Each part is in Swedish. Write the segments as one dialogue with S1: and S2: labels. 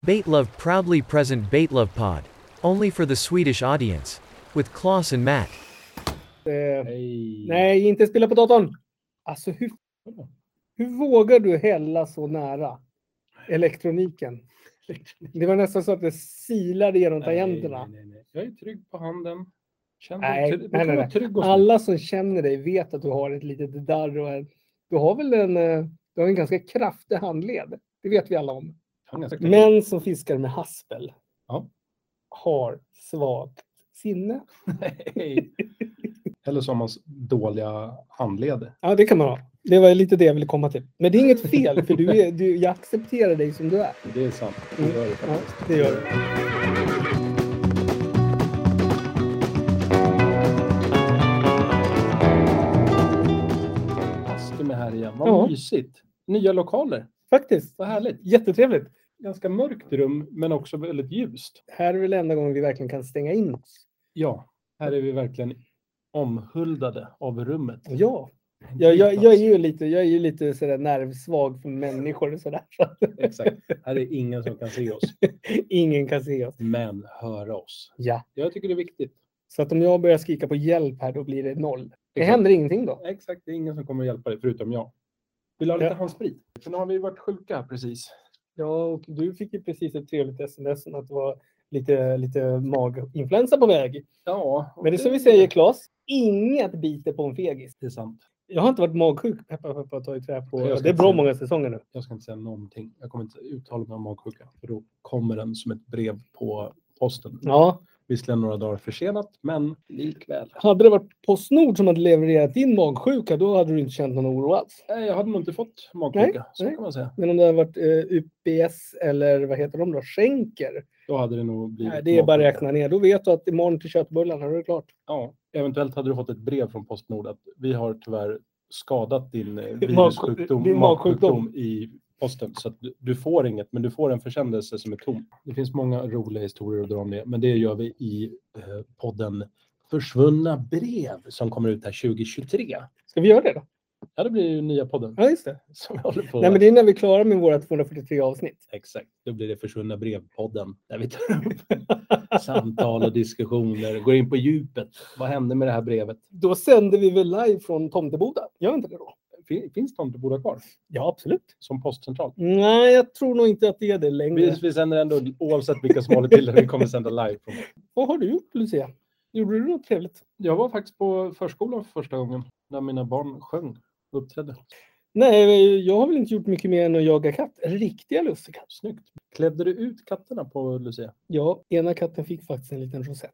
S1: Baitlove proudly present Baitlove Pod. Only for the Swedish audience. With Klaus and Matt.
S2: Eh,
S3: Nej.
S2: nej, inte spela på datorn. Alltså hur, hur vågar du hälla så nära elektroniken? Det var nästan så att det silade genom tangenterna.
S3: Nej, nej, nej. Jag är trygg på handen. Känner
S2: Nej,
S3: mig trygg,
S2: nej, nej, nej.
S3: trygg och snygg.
S2: Alla som känner dig vet att du har ett litet darr och en, du har väl en, eh, du har en ganska kraftig handled. Det vet vi alla om.
S3: Han är säkert-
S2: Män som fiskar med haspel
S3: Ja.
S2: har svagt sinne.
S3: Nej. Eller som hans dåliga handled.
S2: Ja, det kan man ha. Det var lite det jag ville komma till. Men det är inget fel, för du är, du, jag accepterar dig som du är.
S3: Det är sant. Det
S2: Mm.
S3: gör det
S2: Ja,
S3: faktiskt.
S2: det gör det.
S3: Bastu med här igen. Vad
S2: Ja.
S3: mysigt. Nya lokaler.
S2: Faktiskt.
S3: Vad härligt.
S2: Jättetrevligt.
S3: Ganska mörkt rum, men också väldigt ljust.
S2: Här är väl enda gången vi verkligen kan stänga in oss.
S3: Ja, här är vi verkligen omhuldade av rummet.
S2: Ja, jag, jag, jag är ju lite, jag är ju lite sådär nervsvag för människor och sådär. Så att
S3: Exakt. Här är ingen som kan se oss,
S2: ingen kan se oss.
S3: men höra oss.
S2: Ja.
S3: Jag tycker det är viktigt.
S2: Så att om jag börjar skrika på hjälp här, då blir det noll. Det
S3: Exakt.
S2: händer ingenting då.
S3: Exakt, det är ingen som kommer att hjälpa dig förutom jag. Vill du ha lite
S2: Ja.
S3: handsprit? För nu har vi varit sjuka här precis.
S2: Ja, och du fick ju precis ett trevligt sms om att det var lite, lite maginfluensa på väg.
S3: Ja, och
S2: Men det är som vi säger, Claes. Inget biter på en fegis.
S3: Det är sant.
S2: Jag har inte varit magsjuk, peppar peppar, ta i trä på.
S3: Jag ska
S2: Det är
S3: inte
S2: bra
S3: säga.
S2: många säsonger nu.
S3: Jag ska inte säga någonting. Jag kommer inte uttala mig om magsjuka, för då kommer den som ett brev på posten.
S2: Ja,
S3: Visserligen några dagar försenat, men likväl.
S2: Hade det varit Postnord som hade levererat din magsjuka, då hade du inte känt någon oro alls.
S3: Nej, eh, jag hade nog inte fått magsjuka, så
S2: nej.
S3: kan man säga.
S2: Men om det hade varit eh, UPS eller vad heter de då? Schenker?
S3: Då hade det nog blivit
S2: Nej, det är bara att
S3: magsjuka.
S2: räkna ner. Då vet du att imorgon till köttbullarna, då är det klart.
S3: Ja, eventuellt hade du fått ett brev från Postnord att vi har tyvärr skadat din eh,
S2: Din
S3: virussjukdom,
S2: magsjuk- din
S3: magsjukdom i posten. Så att du, du får inget, men du får en försändelse som är tom. Det finns många roliga historier att dra om det, men det gör vi i eh, podden Försvunna brev som kommer ut här 2023.
S2: Ska vi göra det då?
S3: Ja, det blir ju nya podden
S2: Ja, just det.
S3: som vi håller på
S2: Nej, men
S3: med.
S2: det är när vi är klara med våra 243 avsnitt.
S3: Exakt, då blir det Försvunna brev-podden där vi tar upp samtal och diskussioner, går in på djupet. Vad hände med det här brevet?
S2: Då sänder vi väl live från Tomteboda? Gör inte det då?
S3: Fin- Finns Tomteboda kvar?
S2: Ja, absolut.
S3: som postcentral.
S2: Nej, jag tror nog inte att det är det längre.
S3: Vi, vi sänder ändå, oavsett vilka som håller till där, vi kommer sända live. Från.
S2: Vad har du gjort, Lucia? Gjorde du något trevligt?
S3: Jag var faktiskt på förskolan för första gången när mina barn sjöng och uppträdde.
S2: Nej, eh, jag har väl inte gjort mycket mer än att jaga katt. Riktiga lussekatter.
S3: Snyggt. Klädde du ut katterna på Lucia?
S2: Ja, ena katten fick faktiskt en liten rosett.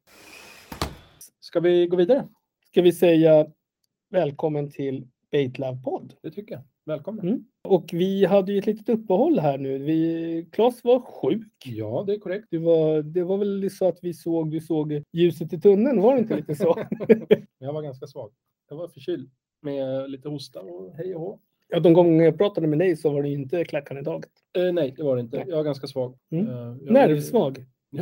S3: Ska vi gå vidare?
S2: ska vi säga välkommen till Baitlab podd.
S3: Det tycker jag. Välkomna.
S2: Mm. Och vi hade ju ett litet uppehåll här nu. Vi, Claes var sjuk.
S3: Ja, det är korrekt.
S2: Det var, det var väl så att vi såg, du såg ljuset i tunneln, var det inte lite så?
S3: Jag var ganska svag. Jag var förkyld med lite hosta och hej och hå.
S2: ja, de gånger jag pratade med dig så var det ju inte klackarna i taget.
S3: Eh, nej, det var det inte.
S2: Nej.
S3: Jag var ganska svag.
S2: Mm.
S3: Eh, jag-
S2: Nervsvag.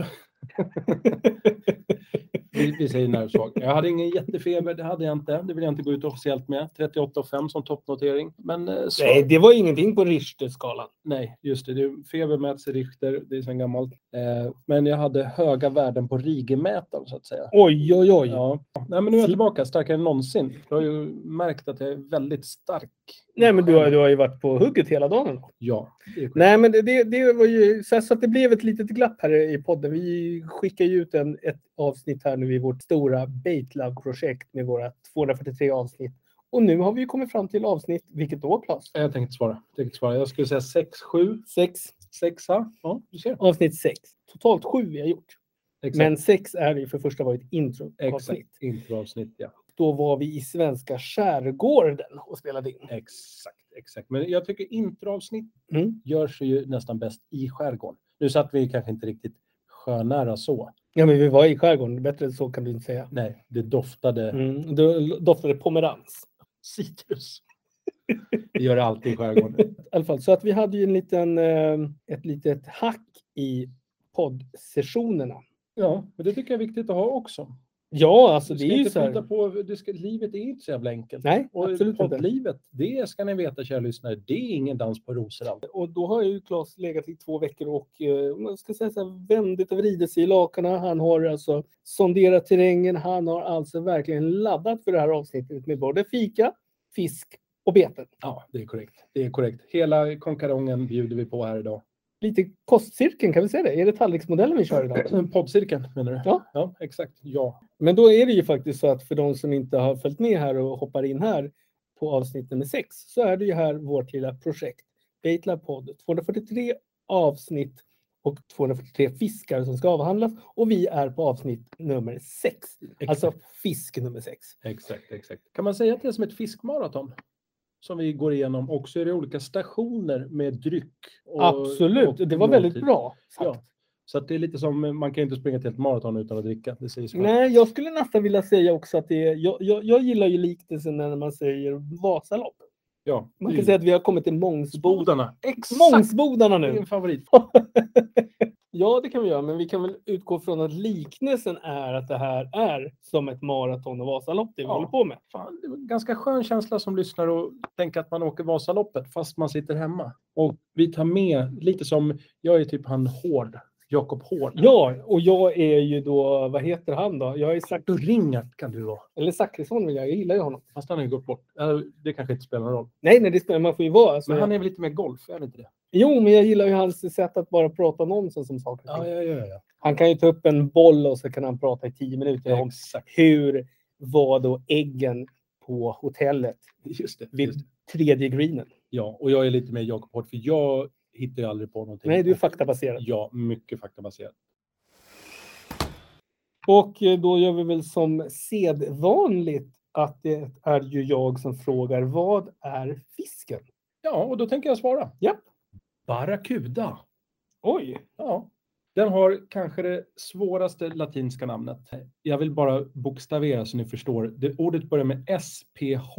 S3: Vi, vi säger nervsvag. Jag hade ingen jättefeber, det hade jag inte. Det vill jag inte gå ut officiellt med. 38,5 som toppnotering. Men eh, svag.
S2: Nej, det var ingenting på Richter-skalan.
S3: Nej, just det. det är feber mäts i Richter, det är sedan gammalt. Eh, men jag hade höga värden på Rigemätaren så att säga.
S2: Oj, oj, oj.
S3: Ja. Nej, men nu är jag tillbaka starkare än någonsin. Jag har ju märkt att jag är väldigt stark.
S2: Nej, men du har, du har ju varit på hugget hela dagen.
S3: Ja, det är korrekt.
S2: Nej, men det, det, det var ju så, så att det blev ett litet glapp här i podden. Vi skickar ju ut en, ett avsnitt här nu i vårt stora Baitlove-projekt med våra 243 avsnitt. Och nu har vi ju kommit fram till avsnitt, vilket då Claes?
S3: Jag tänker inte svara. Jag, tänker inte svara. jag skulle säga 6, 7,
S2: Sex.
S3: 6. Ja, du ser.
S2: Avsnitt sex. Totalt sju vi har gjort.
S3: Exakt.
S2: Men sex är det ju för första var ett introavsnitt.
S3: Exakt. Introavsnitt, ja.
S2: Då var vi i svenska skärgården och spelade in.
S3: Exakt, exakt. Men jag tycker introavsnitt
S2: Mm.
S3: görs ju nästan bäst i skärgården. Nu satt vi kanske inte riktigt sjönära så.
S2: Ja, men vi var i skärgården. Bättre än så kan du inte säga.
S3: Nej, det doftade
S2: Mm. Då doftade det pomerans.
S3: citrus. Det gör det alltid i skärgården.
S2: i alla fall. Så att vi hade ju en liten, eh, ett litet hack i poddsessionerna.
S3: Ja, men det tycker jag är viktigt att ha också.
S2: Ja, alltså
S3: Du
S2: det
S3: ska
S2: är ju
S3: inte
S2: så
S3: flytta
S2: här.
S3: på, du ska, livet är inte så jävla enkelt.
S2: Nej,
S3: Och
S2: absolut inte.
S3: poddlivet, det ska ni veta kära lyssnare, det är ingen dans på rosor alltid.
S2: Och då har ju Claes legat i två veckor och eh, om man ska säga så här, vändit och vridit sig i lakanen. Han har alltså sonderat terrängen. Han har alltså verkligen laddat för det här avsnittet med både fika, fisk och beten.
S3: Ja, det är korrekt. Det är korrekt. Hela konkarongen bjuder vi på här idag.
S2: Lite kostcirkeln, kan vi säga det? Är det tallriksmodellen vi kör idag?
S3: Poddcirkeln menar du?
S2: Ja.
S3: ja exakt. Ja.
S2: Men då är det ju faktiskt så att för de som inte har följt med här och hoppar in här på avsnitt nummer sex så är det ju här vårt lilla projekt Baitlab podd. 243 avsnitt och 243 fiskar som ska avhandlas och vi är på avsnitt nummer sex.
S3: Exakt.
S2: Alltså fisk nummer sex.
S3: Exakt, exakt. Kan man säga att det är som ett fiskmaraton? Som vi går igenom och så är det olika stationer med dryck. och-
S2: Absolut,
S3: och
S2: det var väldigt
S3: måltid.
S2: bra sagt.
S3: Ja. Så att det är lite som, man kan ju inte springa till ett maraton utan att dricka. Det sägs väl.
S2: Nej, jag skulle nästan vilja säga också att det är, jag, jag, jag gillar ju liknelsen när man säger Vasalopp.
S3: Ja.
S2: Man
S3: det
S2: kan
S3: är
S2: säga att vi har kommit till Mångsbodarna.
S3: Bodarna. Exakt!
S2: Mångsbodarna
S3: Det är
S2: nu!
S3: en favorit.
S2: Ja, det kan vi göra, men vi kan väl utgå från att liknelsen är att det här är som ett maraton och Vasalopp det vi
S3: Ja.
S2: håller på med.
S3: Fan, det var en ganska skön känsla som lyssnare och tänka att man åker Vasaloppet fast man sitter hemma. Och vi tar med lite som, jag är typ han Hård, Jakob Hård.
S2: Ja, och jag är ju då, vad heter han då? Jag är Zach,
S3: Då Ringart kan du vara.
S2: eller Zachrisson vill jag, jag gillar ju honom.
S3: Fast han har ju gått bort. Eh, Det kanske inte spelar någon roll.
S2: Nej, nej, det spelar, man får ju vara. Alltså,
S3: Men han är väl lite mer golf, är det inte det?
S2: Jo, men jag gillar ju hans sätt att bara prata nonsens om saker. och ting.
S3: ja, ja. ja.
S2: Han kan ju ta upp en boll och så kan han prata i tio minuter om
S3: Exakt.
S2: hur var då äggen på hotellet
S3: Just det. Just
S2: vid
S3: det.
S2: tredje greenen.
S3: Ja, och jag är lite mer Jakob Hård för jag hittar ju aldrig på någonting.
S2: Nej, du är faktabaserad.
S3: Ja, mycket faktabaserat.
S2: Och eh, då gör vi väl som sedvanligt att det är ju jag som frågar vad är fisken?
S3: Ja, och då tänker jag svara.
S2: Ja.
S3: Barracuda.
S2: Oj!
S3: Ja. Den har kanske det svåraste latinska namnet. Jag vill bara bokstavera så ni förstår. Det, ordet börjar med SPH.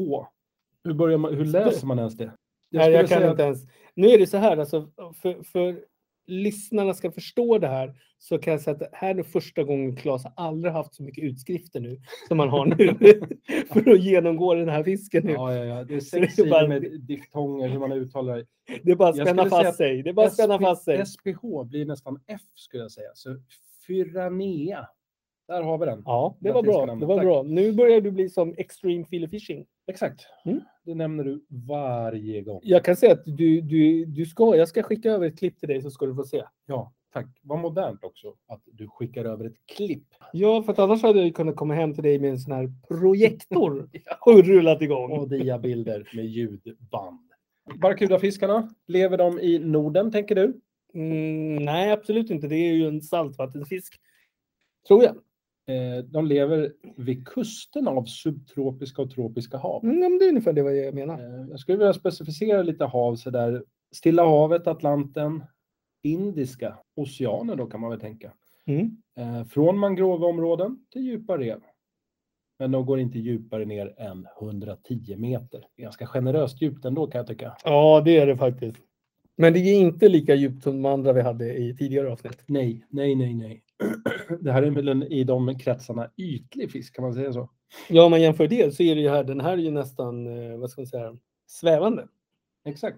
S3: Hur, börjar man, hur läser man ens det?
S2: Nej, jag
S3: skulle
S2: kan
S3: säga-
S2: inte ens. Nu är det så här, alltså, för, för lyssnarna ska förstå det här så kan jag säga att det här är första gången Claes har aldrig haft så mycket utskrifter nu som man har nu för att genomgå den här fisken nu.
S3: Ja, ja, ja. Det är
S2: Så det är
S3: sex sidor
S2: bara-
S3: med diftonger, hur man uttalar det.
S2: Det är bara att
S3: Jag
S2: spänna
S3: skulle säga
S2: fast sig. Det är bara att spänna
S3: SP
S2: fast sig.
S3: SPH blir nästan F skulle jag säga. Så Fyranea. Där har vi den.
S2: Ja, det var
S3: latinska
S2: bra. Det
S3: namnet.
S2: var
S3: Tack.
S2: bra. Nu börjar du bli som Extreme Filler Fishing.
S3: Exakt.
S2: Mm.
S3: Det nämner du varje gång.
S2: Jag kan säga att du, du, du ska, jag ska skicka över ett klipp till dig så ska du få se.
S3: Ja, tack. Vad modernt också att du skickar över ett klipp.
S2: Ja, för att annars hade jag ju kunnat komma hem till dig med en sån här projektor och rullat igång.
S3: och diabilder med ljudband. Barracudafiskarna, lever de i Norden tänker du?
S2: Mm, nej, absolut inte. Det är ju en saltvattenfisk. Tror jag.
S3: Eh, De lever vid kusten av subtropiska och tropiska hav.
S2: Mm, ja, men det är ungefär det vad jag menar.
S3: Eh, Jag skulle vilja specificera lite hav så där. Stilla havet, Atlanten, Indiska oceanen då kan man väl tänka.
S2: Mm.
S3: Eh, Från mangroveområden till djupa rev. Men de går inte djupare ner än 110 meter. Ganska generöst djupt ändå kan jag tycka.
S2: Ja, det är det faktiskt. Men det är inte lika djupt som de andra vi hade i tidigare avsnitt.
S3: Nej, nej, nej, nej. Det här är väl en, i de kretsarna ytlig fisk, kan man säga så?
S2: Ja, om man jämför det så är det ju här, den här är ju nästan, eh, vad ska man säga, svävande.
S3: Exakt.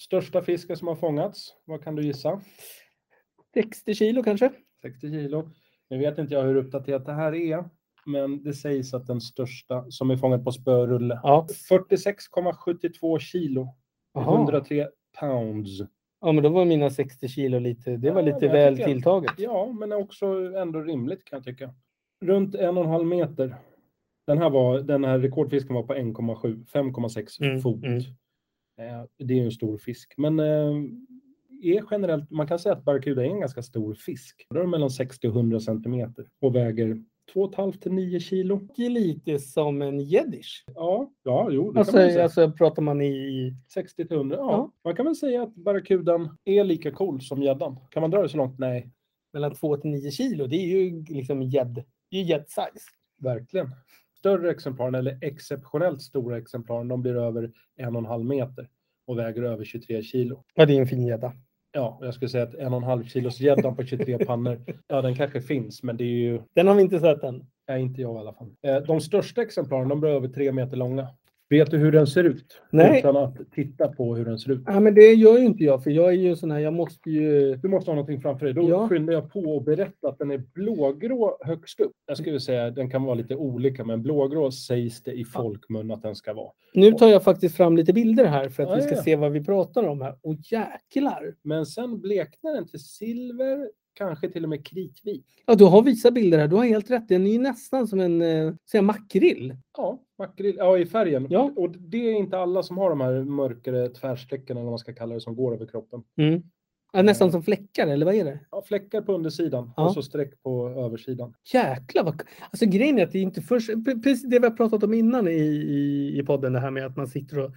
S3: Största fisken som har fångats, vad kan du gissa?
S2: 60 kilo kanske?
S3: 60 kilo. Nu vet inte jag hur uppdaterat det här är, men det sägs att den största som är fångad på spörulle.
S2: Ja.
S3: 46,72 kilo, 103 pounds.
S2: Ja, men då var mina 60 kilo lite, det var
S3: Ja,
S2: lite
S3: men jag
S2: väl
S3: tycker-
S2: tilltaget.
S3: Ja, men också ändå rimligt kan jag tycka. Runt en och en halv meter. Den här, var, den här rekordfisken var på 1,7, 5,6
S2: Mm,
S3: fot.
S2: mm.
S3: Eh, Det är ju en stor fisk, men eh, är generellt, man kan säga att barracuda är en ganska stor fisk. Den är mellan 60 och 100 centimeter och väger 2,5 till 9 kilo.
S2: Det är lite som en jeddish.
S3: Ja, ja jo, det kan man ju
S2: Alltså,
S3: säga.
S2: alltså pratar man i... i-
S3: 60 till 100, ja.
S2: Ja.
S3: Man kan väl säga att barracudan är lika cool som gäddan. Kan man dra det så långt? Nej,
S2: mellan 2 till 9 kilo, det är ju liksom gädd. Det är ju gäddsize.
S3: Verkligen. Större exemplaren eller exceptionellt stora exemplaren, de blir över en och en halv meter och väger över 23 kilo.
S2: Ja, det är en fin gädda.
S3: Ja, och jag skulle säga att en och en halv kilos gäddan på 23 pannor. Ja, den kanske finns, men det är ju
S2: Den har vi inte sett än.
S3: nej, inte jag i alla fall. Eh, De största exemplaren, de blir över tre meter långa. Vet du hur den ser ut?
S2: Nej.
S3: Utan att titta på hur den ser ut.
S2: Nej, men det gör ju inte jag, för jag är ju en sån här, jag måste ju...
S3: Du måste ha någonting framför dig. Då
S2: Ja.
S3: skyndar jag på och berätta att den är blågrå högst upp. Jag skulle säga att den kan vara lite olika, men blågrå sägs det i folkmun att den ska vara.
S2: Nu tar jag faktiskt fram lite bilder här för att
S3: Ja,
S2: vi ska
S3: ja.
S2: se vad vi pratar om här. Och jäklar!
S3: Men sen bleknar den till silver, kanske till och med kritvit.
S2: Ja, du har vissa bilder här. Du har helt rätt. Den är ju nästan som en eh, säga, makrill.
S3: Ja, makrill. Ja, i färgen.
S2: Ja.
S3: Och det är inte alla som har de här mörkare tvärstecken eller vad man ska kalla det som går över kroppen.
S2: Mm. Ja, nästan som fläckar, eller vad är det?
S3: Ja, fläckar på undersidan
S2: Ja.
S3: och så streck på översidan.
S2: Jäklar vad... Alltså grejen är att det är inte först... pre- Precis det vi har pratat om innan i, i, i podden, det här med att man sitter och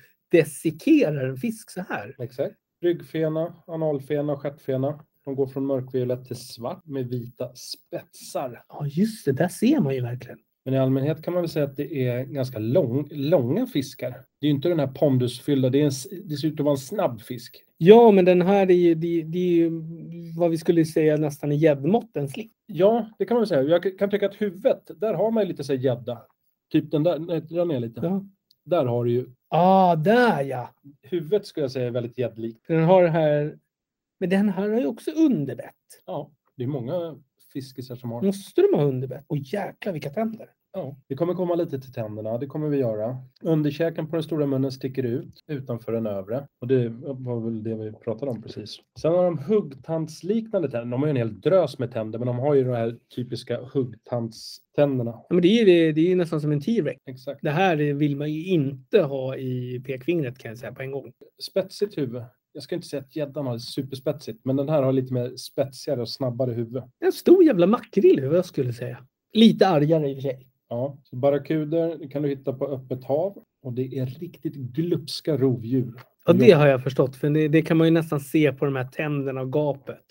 S2: dissekerar en fisk så här.
S3: Exakt. Ryggfena, analfena och stjärtfena. De går från mörkviolett till svart med vita spetsar.
S2: Ja, just det. Där ser man ju verkligen.
S3: Men i allmänhet kan man väl säga att det är ganska lång, långa fiskar. Det är ju inte den här pondusfyllda, det, är en, s- det ser ut att vara en snabb fisk.
S2: Ja, men den här är ju, det, det är ju vad vi skulle säga nästan i gäddmått, en slick.
S3: Ja, det kan man väl säga. Jag kan tycka att huvudet, där har man ju lite så här gädda. Typ den där, nej, dra ner lite.
S2: Ja.
S3: Där har du ju,
S2: Ah, där ja!
S3: huvudet skulle jag säga är väldigt gäddlikt.
S2: För den har det här... Men den här har ju också underbett.
S3: Ja, det är många fiskisar som har.
S2: Måste de ha underbett? Och jäklar vilka tänder!
S3: Ja, vi kommer komma lite till tänderna, det kommer vi göra. Underkäken på den stora munnen sticker ut utanför den övre. Och det var väl det vi pratade om precis. Sen har de huggtandsliknande tänder. De har ju en hel drös med tänder, men de har ju de här typiska huggtandständerna.
S2: Ja, men det, är ju, det, det är ju nästan som en T-rex.
S3: Exakt.
S2: Det här är- vill man ju inte ha i pekfingret kan jag säga på en gång.
S3: Spetsigt huvud. Jag ska inte säga att gäddan har superspetsigt, men den här har lite mer spetsigare och snabbare huvud.
S2: En stor jävla makrill är vad jag skulle säga. Lite argare i och för sig.
S3: Ja, så barracuder det kan du hitta på öppet hav och det är riktigt glupska rovdjur.
S2: Ja, det har jag förstått. För det, det kan man ju nästan se på de här tänderna och gapet.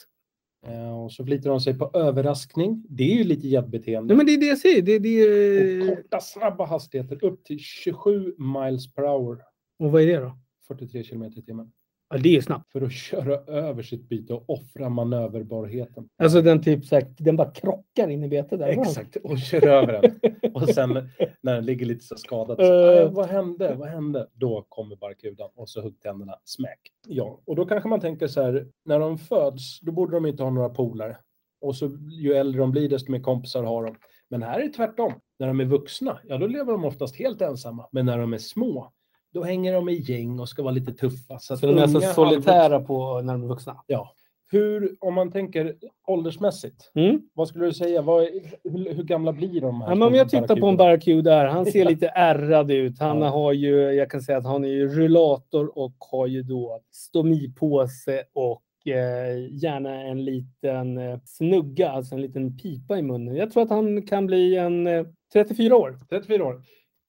S3: Eh, Och så flitar de sig på överraskning. Det är ju lite
S2: Nej,
S3: gäddbeteende.
S2: men eh, det är det jag säger. Det, det är,
S3: Och
S2: ju-
S3: korta, snabba hastigheter upp till 27 miles per hour,
S2: och vad är det då?
S3: 43 kilometer i timmen,
S2: Ja, det är ju snabbt.
S3: för att köra över sitt byte och offra manöverbarheten.
S2: Alltså den typ så här, den bara krockar in i betet där.
S3: Exakt, och kör över den. Och sen när den ligger lite så skadad, så,
S2: Eh.
S3: "Aj, vad hände, vad hände? Då kommer barkudan och så huggtänderna, smäck. Ja, och då kanske man tänker så här, när de föds, då borde de inte ha några polare. Och så ju äldre de blir, desto mer kompisar har de. Men här är det tvärtom. När de är vuxna, ja då lever de oftast helt ensamma. Men när de är små, då hänger de i gäng och ska vara lite tuffa. att
S2: Så de är så
S3: unga,
S2: solitära
S3: halvvuxna-
S2: på när de är vuxna.
S3: Ja. Hur, om man tänker åldersmässigt,
S2: Mm.
S3: vad skulle du säga? Vad, är- hur, hur gamla blir de här?
S2: Ja, men om jag tittar på en barracuda här, han ser
S3: Ja.
S2: lite ärrad ut. Han
S3: Ja.
S2: har ju, jag kan säga att han är ju rullator och har ju då stomipåse och eh, gärna en liten eh, snugga, alltså en liten pipa i munnen. Jag tror att han kan bli en eh, 34 år.
S3: 34 år.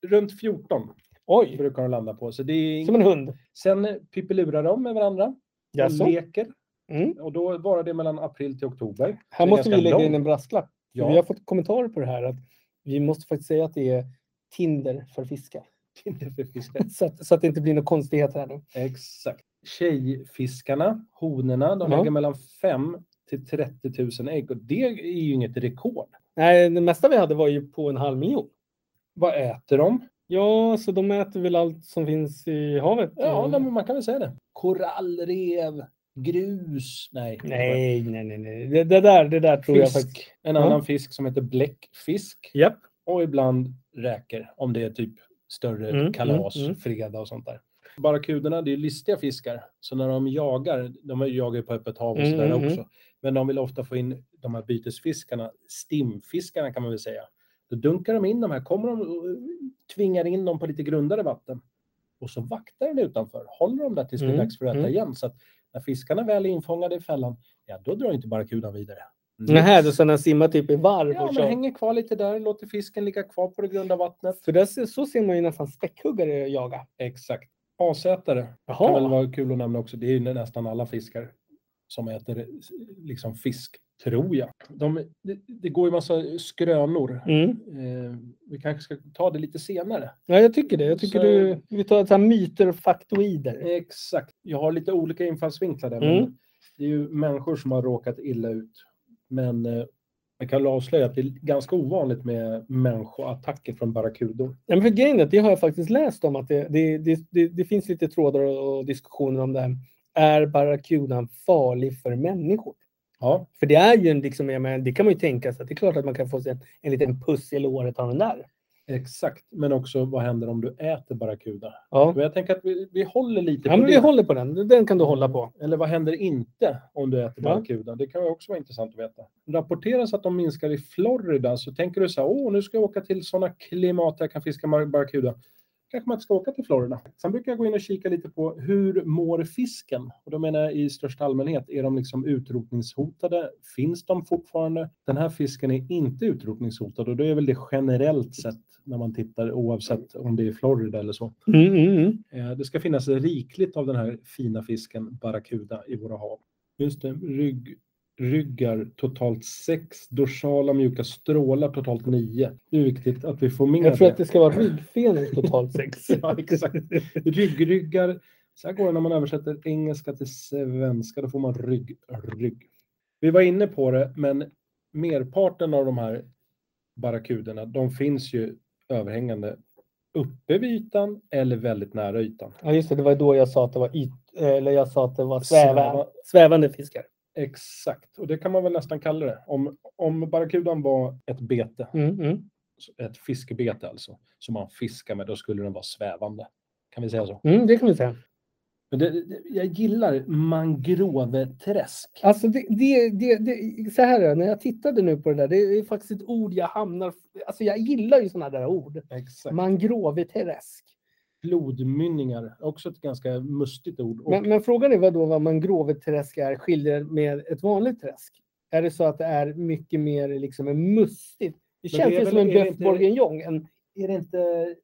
S3: Runt 14
S2: Oj,
S3: brukar de landa på. Så det är
S2: som en hund.
S3: Sen eh, pippelurar de med varandra och
S2: Jaså?
S3: leker.
S2: Mm.
S3: Och då varar det mellan april till oktober.
S2: Här
S3: Det är
S2: måste
S3: ganska
S2: vi lägga in
S3: långt.
S2: en brasklapp. för
S3: Ja.
S2: Vi har fått kommentarer på det här att vi måste faktiskt säga att det är Tinder för fiskar.
S3: Inte för fiskar.
S2: Så att, så att det inte blir några konstigheter här nu.
S3: Exakt. Tjejfiskarna, honorna, de
S2: Ja.
S3: lägger mellan 5 till 30 000 ägg och det är ju inget rekord.
S2: Nej, det mesta vi hade var ju på en halv miljon.
S3: Vad äter de?
S2: Ja, så de äter väl allt som finns i havet?
S3: Ja,
S2: Mm.
S3: nej, men man kan väl säga det. Korallrev, grus. Nej.
S2: Nej, nej, nej. nej. Det, det, där, det där tror jag faktiskt.
S3: Fisk. En annan
S2: Ja.
S3: fisk som heter bläckfisk.
S2: Japp.
S3: och ibland räkor om det är typ större
S2: Mm,
S3: kalas,
S2: mm, mm.
S3: fredag och sånt där. Barracuderna, det är listiga fiskar, så när de jagar, de jagar ju på öppet hav och
S2: Mm,
S3: sådär
S2: mm, mm.
S3: också, men de vill ofta få in de här bytesfiskarna, stimfiskarna kan man väl säga. Då dunkar de in de här, kommer de och tvingar in dem på lite grundare vatten och så vaktar den utanför, håller dem där tills det
S2: Mm,
S3: är dags för att äta
S2: mm.
S3: igen. Så att när fiskarna väl är infångade i fällan, ja då drar inte barracudan vidare.
S2: Nähä, då så den simmar typ i varv
S3: Ja,
S2: och
S3: men
S2: kör.
S3: hänger kvar lite där, låter fisken ligga kvar på det grunda vattnet.
S2: Så, där, ser- så ser man ju nästan späckhuggare jaga.
S3: Exakt. Asätare kan väl
S2: Jaha.
S3: vara kul att nämna också. Det är ju nästan alla fiskar som äter eh, liksom fisk, tror jag. De, det, det går ju massa skrönor.
S2: Mm.
S3: Eh, vi kanske ska ta det lite senare.
S2: Ja, jag tycker det. Jag tycker
S3: Så-
S2: du, vi tar så här myter och faktoider.
S3: Exakt. Jag har lite olika infallsvinklar där.
S2: Mm.
S3: Men Det är ju människor som har råkat illa ut. Men eh, jag kan avslöja att det är ganska ovanligt med människoattacker från barrakudor.
S2: Ja, men för grejen är att det har jag faktiskt läst om att det, det, det, det, det finns lite trådar och, och diskussioner om det här. Är barracudan farlig för människor?
S3: Ja,
S2: För det är ju en, liksom, jag menar, det kan man ju tänka sig att det är klart att man kan få sig en, en liten puss i låret av den där.
S3: exakt. Men också vad händer om du äter barracuda?
S2: Ja,
S3: Men jag tänker att vi, vi håller lite
S2: ja
S3: på
S2: men vi
S3: det.
S2: håller på den. Den kan du hålla på.
S3: Eller vad händer inte om du äter
S2: Ja.
S3: barracuda? Det kan ju också vara intressant att veta. Rapporteras att de minskar i Florida så tänker du så här, åh nu ska jag åka till sådana klimat där jag kan fiska mar- barracuda. Kanske man inte ska åka till Florida. Sen brukar jag gå in och kika lite på hur mår fisken? Och då menar jag i största allmänhet, är de liksom utrotningshotade? Finns de fortfarande? Den här fisken är inte utrotningshotad och det är väl det generellt sett när man tittar oavsett om det är Florida eller så.
S2: Mm, mm, mm.
S3: Eh, Det ska finnas rikligt av den här fina fisken barracuda i våra hav. Just det, rygg, ryggar totalt sex, dorsala mjuka strålar totalt nio. Det är viktigt att vi får med
S2: Jag tror att
S3: det.
S2: det ska vara ryggfenor totalt sex.
S3: Ja, exakt. Ryggryggar. Så här går det när man översätter engelska till svenska, då får man rygg, rygg. Vi var inne på det, men merparten av de här barracuderna, de finns ju överhängande uppe vid ytan eller väldigt nära ytan.
S2: Ja, just det. Det var då jag sa att det var, yt, eller jag sa att det var
S3: Sväva.
S2: sväva, svävande fiskar.
S3: Exakt, och det kan man väl nästan kalla det. Om, om barracudan var ett bete,
S2: Mm, mm,
S3: ett fiskebete alltså, som man fiskar med, då skulle den vara svävande. Kan vi säga så?
S2: mm, det kan vi säga.
S3: Men det, det, jag gillar mangroveträsk.
S2: Alltså det, det, det, det, så här är det, när jag tittade nu på det där, det är faktiskt ett ord jag hamnar... Alltså jag gillar ju sådana där ord.
S3: Exakt.
S2: Mangroveterräsk.
S3: Blodmynningar, också ett ganska mustigt ord. Och,
S2: Men, men frågan är vad då vad mangroveträsk är skiljer med ett vanligt träsk? Är det så att det är mycket mer liksom en mustigt? Det
S3: det
S2: känns
S3: är
S2: ju
S3: väl-
S2: som en
S3: är det
S2: bœuf
S3: inte-
S2: bourguignon. En,
S3: är det inte...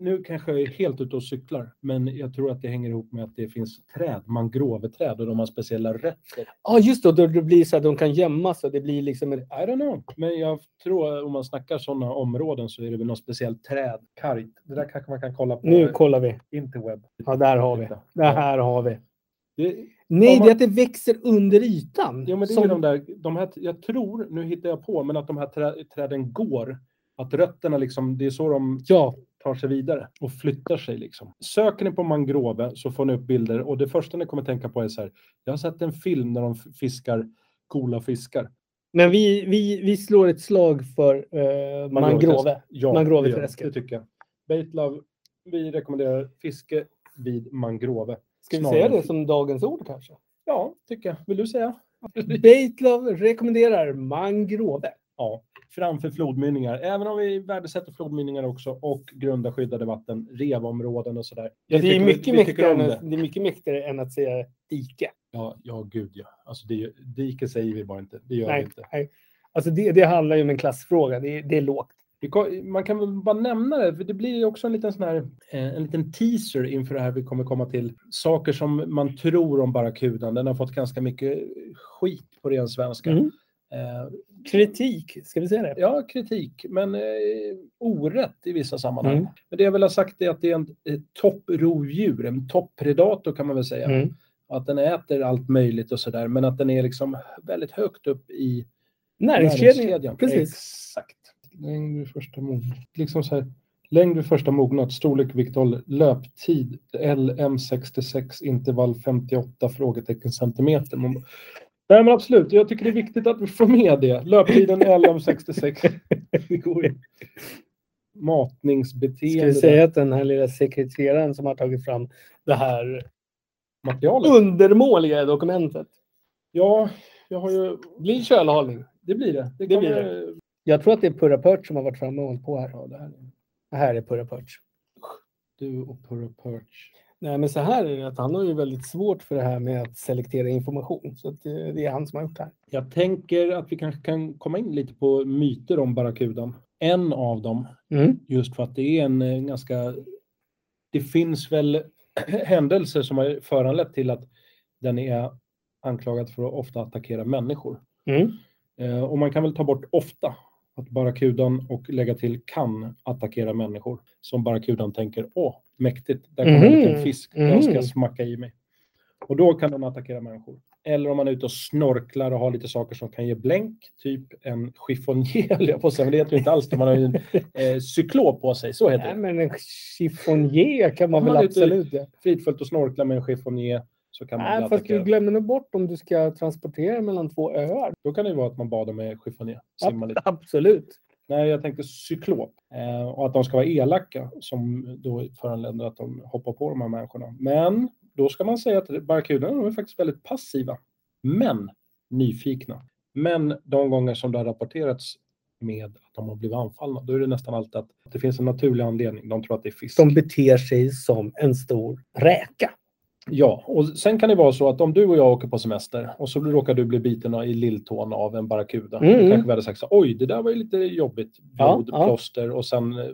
S3: Nu kanske jag är helt ute och cyklar, men jag tror att det hänger ihop med att det finns träd, mangroveträd, och de har speciella rötter.
S2: ja, just det, då, det blir så att de kan gömma sig. Det blir liksom en,
S3: I don't know. Men jag tror om man snackar sådana områden så är det väl något speciellt träd, kargt. Det där kanske man kan kolla på
S2: nu kollar vi.
S3: interweb.
S2: Ja, där har vi.
S3: Titta.
S2: Det här har vi.
S3: Det,
S2: Nej,
S3: Om man-
S2: det är att det växer under ytan.
S3: jo, men det är
S2: Som-
S3: ju de där, de här, jag tror, nu hittar jag på, men att de här trä, träden går. Att rötterna liksom, det är så de
S2: Ja,
S3: tar sig vidare och flyttar sig liksom. Söker ni på mangrove så får ni upp bilder och det första ni kommer tänka på är så här. Jag har sett en film där de f- fiskar coola fiskar.
S2: men vi, vi, vi slår ett slag för eh, mangrove.
S3: Ja,
S2: Mangroveträsket.
S3: det gör vi. Det tycker jag. Baitlove, vi rekommenderar fiske vid mangrove.
S2: Ska vi
S3: Snarare
S2: säga det
S3: än-
S2: som dagens ord kanske?
S3: Ja, tycker jag. Vill du säga?
S2: Baitlove rekommenderar mangrove.
S3: Ja, framför flodmynningar. Även om vi värdesätter flodmynningar också och grunda skyddade vatten, revområden och sådär.
S2: Ja, det, är
S3: tycker-
S2: mycket
S3: vi tycker
S2: mäktigare,
S3: om
S2: än-
S3: det.
S2: det är mycket mäktigare än att säga dike.
S3: Ja, ja, gud ja. Alltså det, är ju- dike säger vi bara inte. Det gör vi
S2: Nej,
S3: inte.
S2: nej. Alltså det, det handlar ju om en klassfråga. Det, är- det är lågt.
S3: Vi ko- Man kan väl bara nämna det, för det blir ju också en liten, sån här, eh, en liten teaser inför det här vi kommer komma till. Saker som man tror om barracudan. Den har fått ganska mycket skit på ren svenska.
S2: Mm.
S3: Eh,
S2: Kritik, ska vi säga det?
S3: Ja, kritik, men eh, orätt i vissa sammanhang.
S2: Mm.
S3: Men det jag vill ha sagt är att det är en ett topprovdjur, en toppredator kan man väl säga.
S2: Mm.
S3: Att den äter allt möjligt och sådär, men att den är liksom väldigt högt upp i
S2: Näringskedjan. Precis.
S3: Exakt. Längd vid första mognad. Liksom så här. Längd vid första mognad, storlek, viktålder, löptid, LM66, intervall 58 frågetecken centimeter. Man... bara, Nej men absolut, jag tycker det är viktigt att vi får med det. Löptiden LM66. Det går ju.
S2: Ska vi
S3: Matningsbeteende.
S2: säga att den här lilla sekreteraren som har tagit fram det här
S3: Materialet.
S2: undermåliga dokumentet
S3: Ja, jag har ju...
S2: blir kölhalning.
S3: Det blir det.
S2: Det blir Jag tror att det är Purra Perch som har varit framme och hållit på här.
S3: Ja, det här är
S2: Det här är Purra Perch.
S3: du och Purra Perch.
S2: Nej, men så här är det att han har ju väldigt svårt för det här med att selektera information. Så att eh, det, det är han som har gjort det här.
S3: Jag tänker att vi kanske kan komma in lite på myter om barracudan. En av dem,
S2: Mm.
S3: just för att det är en eh, ganska... Det finns väl händelser som har föranlett till att den är anklagad för att ofta attackera människor.
S2: Mm.
S3: Eh, Och man kan väl ta bort ofta, att barracudan och lägga till kan attackera människor. Som barracudan tänker, åh, mäktigt, där kommer en
S2: Mhm,
S3: liten fisk, den ska
S2: mhm.
S3: jag smacka i mig. Och då kan den attackera människor. Eller om man är ute och snorklar och har lite saker som kan ge blänk, typ en chiffonjé, höll jag på att säga, men det heter ju inte alls det. Man har ju en eh, cyklop på sig, så heter det.
S2: Nej, men en chiffonjé typ- kan man
S3: Ja,
S2: väl
S3: det är
S2: absolut göra.
S3: fridfullt att snorkla med en chiffonjé så kan man
S2: Nej,
S3: bli
S2: fast du
S3: attackerad.
S2: glömmer nog bort om du ska transportera mellan två öar.
S3: Då kan det ju vara att man badar med chiffonjé. Simma lite.
S2: Absolut.
S3: Nej, jag tänkte cyklop. Eh, och att de ska vara elaka som då föranleder att de hoppar på de här människorna. Men då ska man säga att barracudarna de är faktiskt väldigt passiva. Men nyfikna. Men de gånger som det har rapporterats med att de har blivit anfallna, då är det nästan alltid att det finns en naturlig anledning. De tror att det är fisk.
S2: Som beter sig som en stor räka.
S3: Ja, och sen kan det vara så att om du och jag åker på semester och så råkar du bli biten i lilltån av en barracuda.
S2: Mm.
S3: Då kanske vi hade sagt så här, oj, det där var ju lite jobbigt. Blod,
S2: Ja, ja.
S3: plåster och sen eh,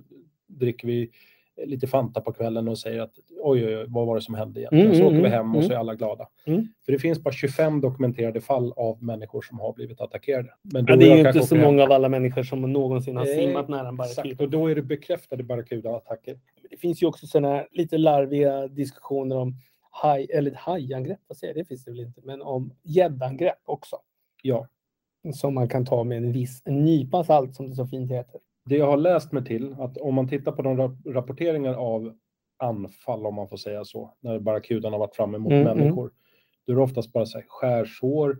S3: dricker vi eh, lite Fanta på kvällen och säger att oj, oj, oj vad var det som hände egentligen?
S2: Mm,
S3: så åker
S2: mm,
S3: vi hem och så
S2: mm.
S3: är alla glada.
S2: Mm.
S3: För det finns bara 25 dokumenterade fall av människor som har blivit attackerade. Men
S2: Ja, det
S3: du och
S2: är
S3: jag
S2: ju
S3: kanske
S2: inte så
S3: åker hem.
S2: många av alla människor som någonsin har
S3: Nej,
S2: simmat nära en
S3: Exakt,
S2: barracuda.
S3: och då är det bekräftade barracuda-attacker.
S2: Det finns ju också sådana här lite larviga diskussioner om haj, eller hajangrepp, vad säger jag? det finns det väl inte, men om gäddangrepp också.
S3: Ja,
S2: Som man kan ta med en viss nypa salt som det så fint heter.
S3: det jag har läst mig till, att om man tittar på de rap- rapporteringar av anfall, om man får säga så, när barracudan har varit framme mot
S2: Mm, mm.
S3: människor, då är det oftast bara så här, skärsår,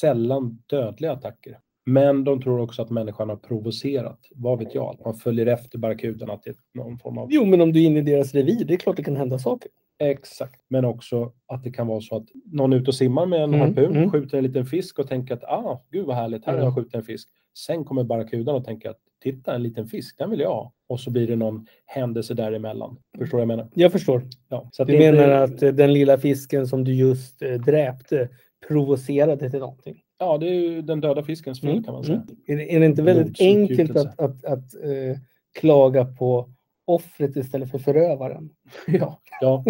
S3: sällan dödliga attacker. Men de tror också att människan har provocerat, vad vet jag, att man följer efter barracudan, att det är någon form av...
S2: Jo, men om du är inne i deras revir, det är klart det kan hända saker.
S3: Exakt. Men också att det kan vara så att någon är ute och simmar med en
S2: Mm,
S3: harpun,
S2: mm.
S3: skjuter en liten fisk och tänker att ah, gud vad härligt, här har jag
S2: Mm.
S3: skjutit en fisk. Sen kommer barracudan och tänker att titta en liten fisk, den vill jag ha. Och så blir det någon händelse däremellan. Förstår du vad jag menar?
S2: Jag förstår.
S3: Ja. Så att
S2: Du
S3: det är
S2: menar
S3: inte-
S2: att eh, den lilla fisken som du just eh, dräpte provocerade till någonting?
S3: Ja, det är ju den döda fiskens fel
S2: Mm,
S3: kan man säga.
S2: Är det, är det inte väldigt enkelt
S3: Blodsutgjutelse.
S2: att, att, att eh, klaga på offret istället för förövaren?
S3: Ja. Ja.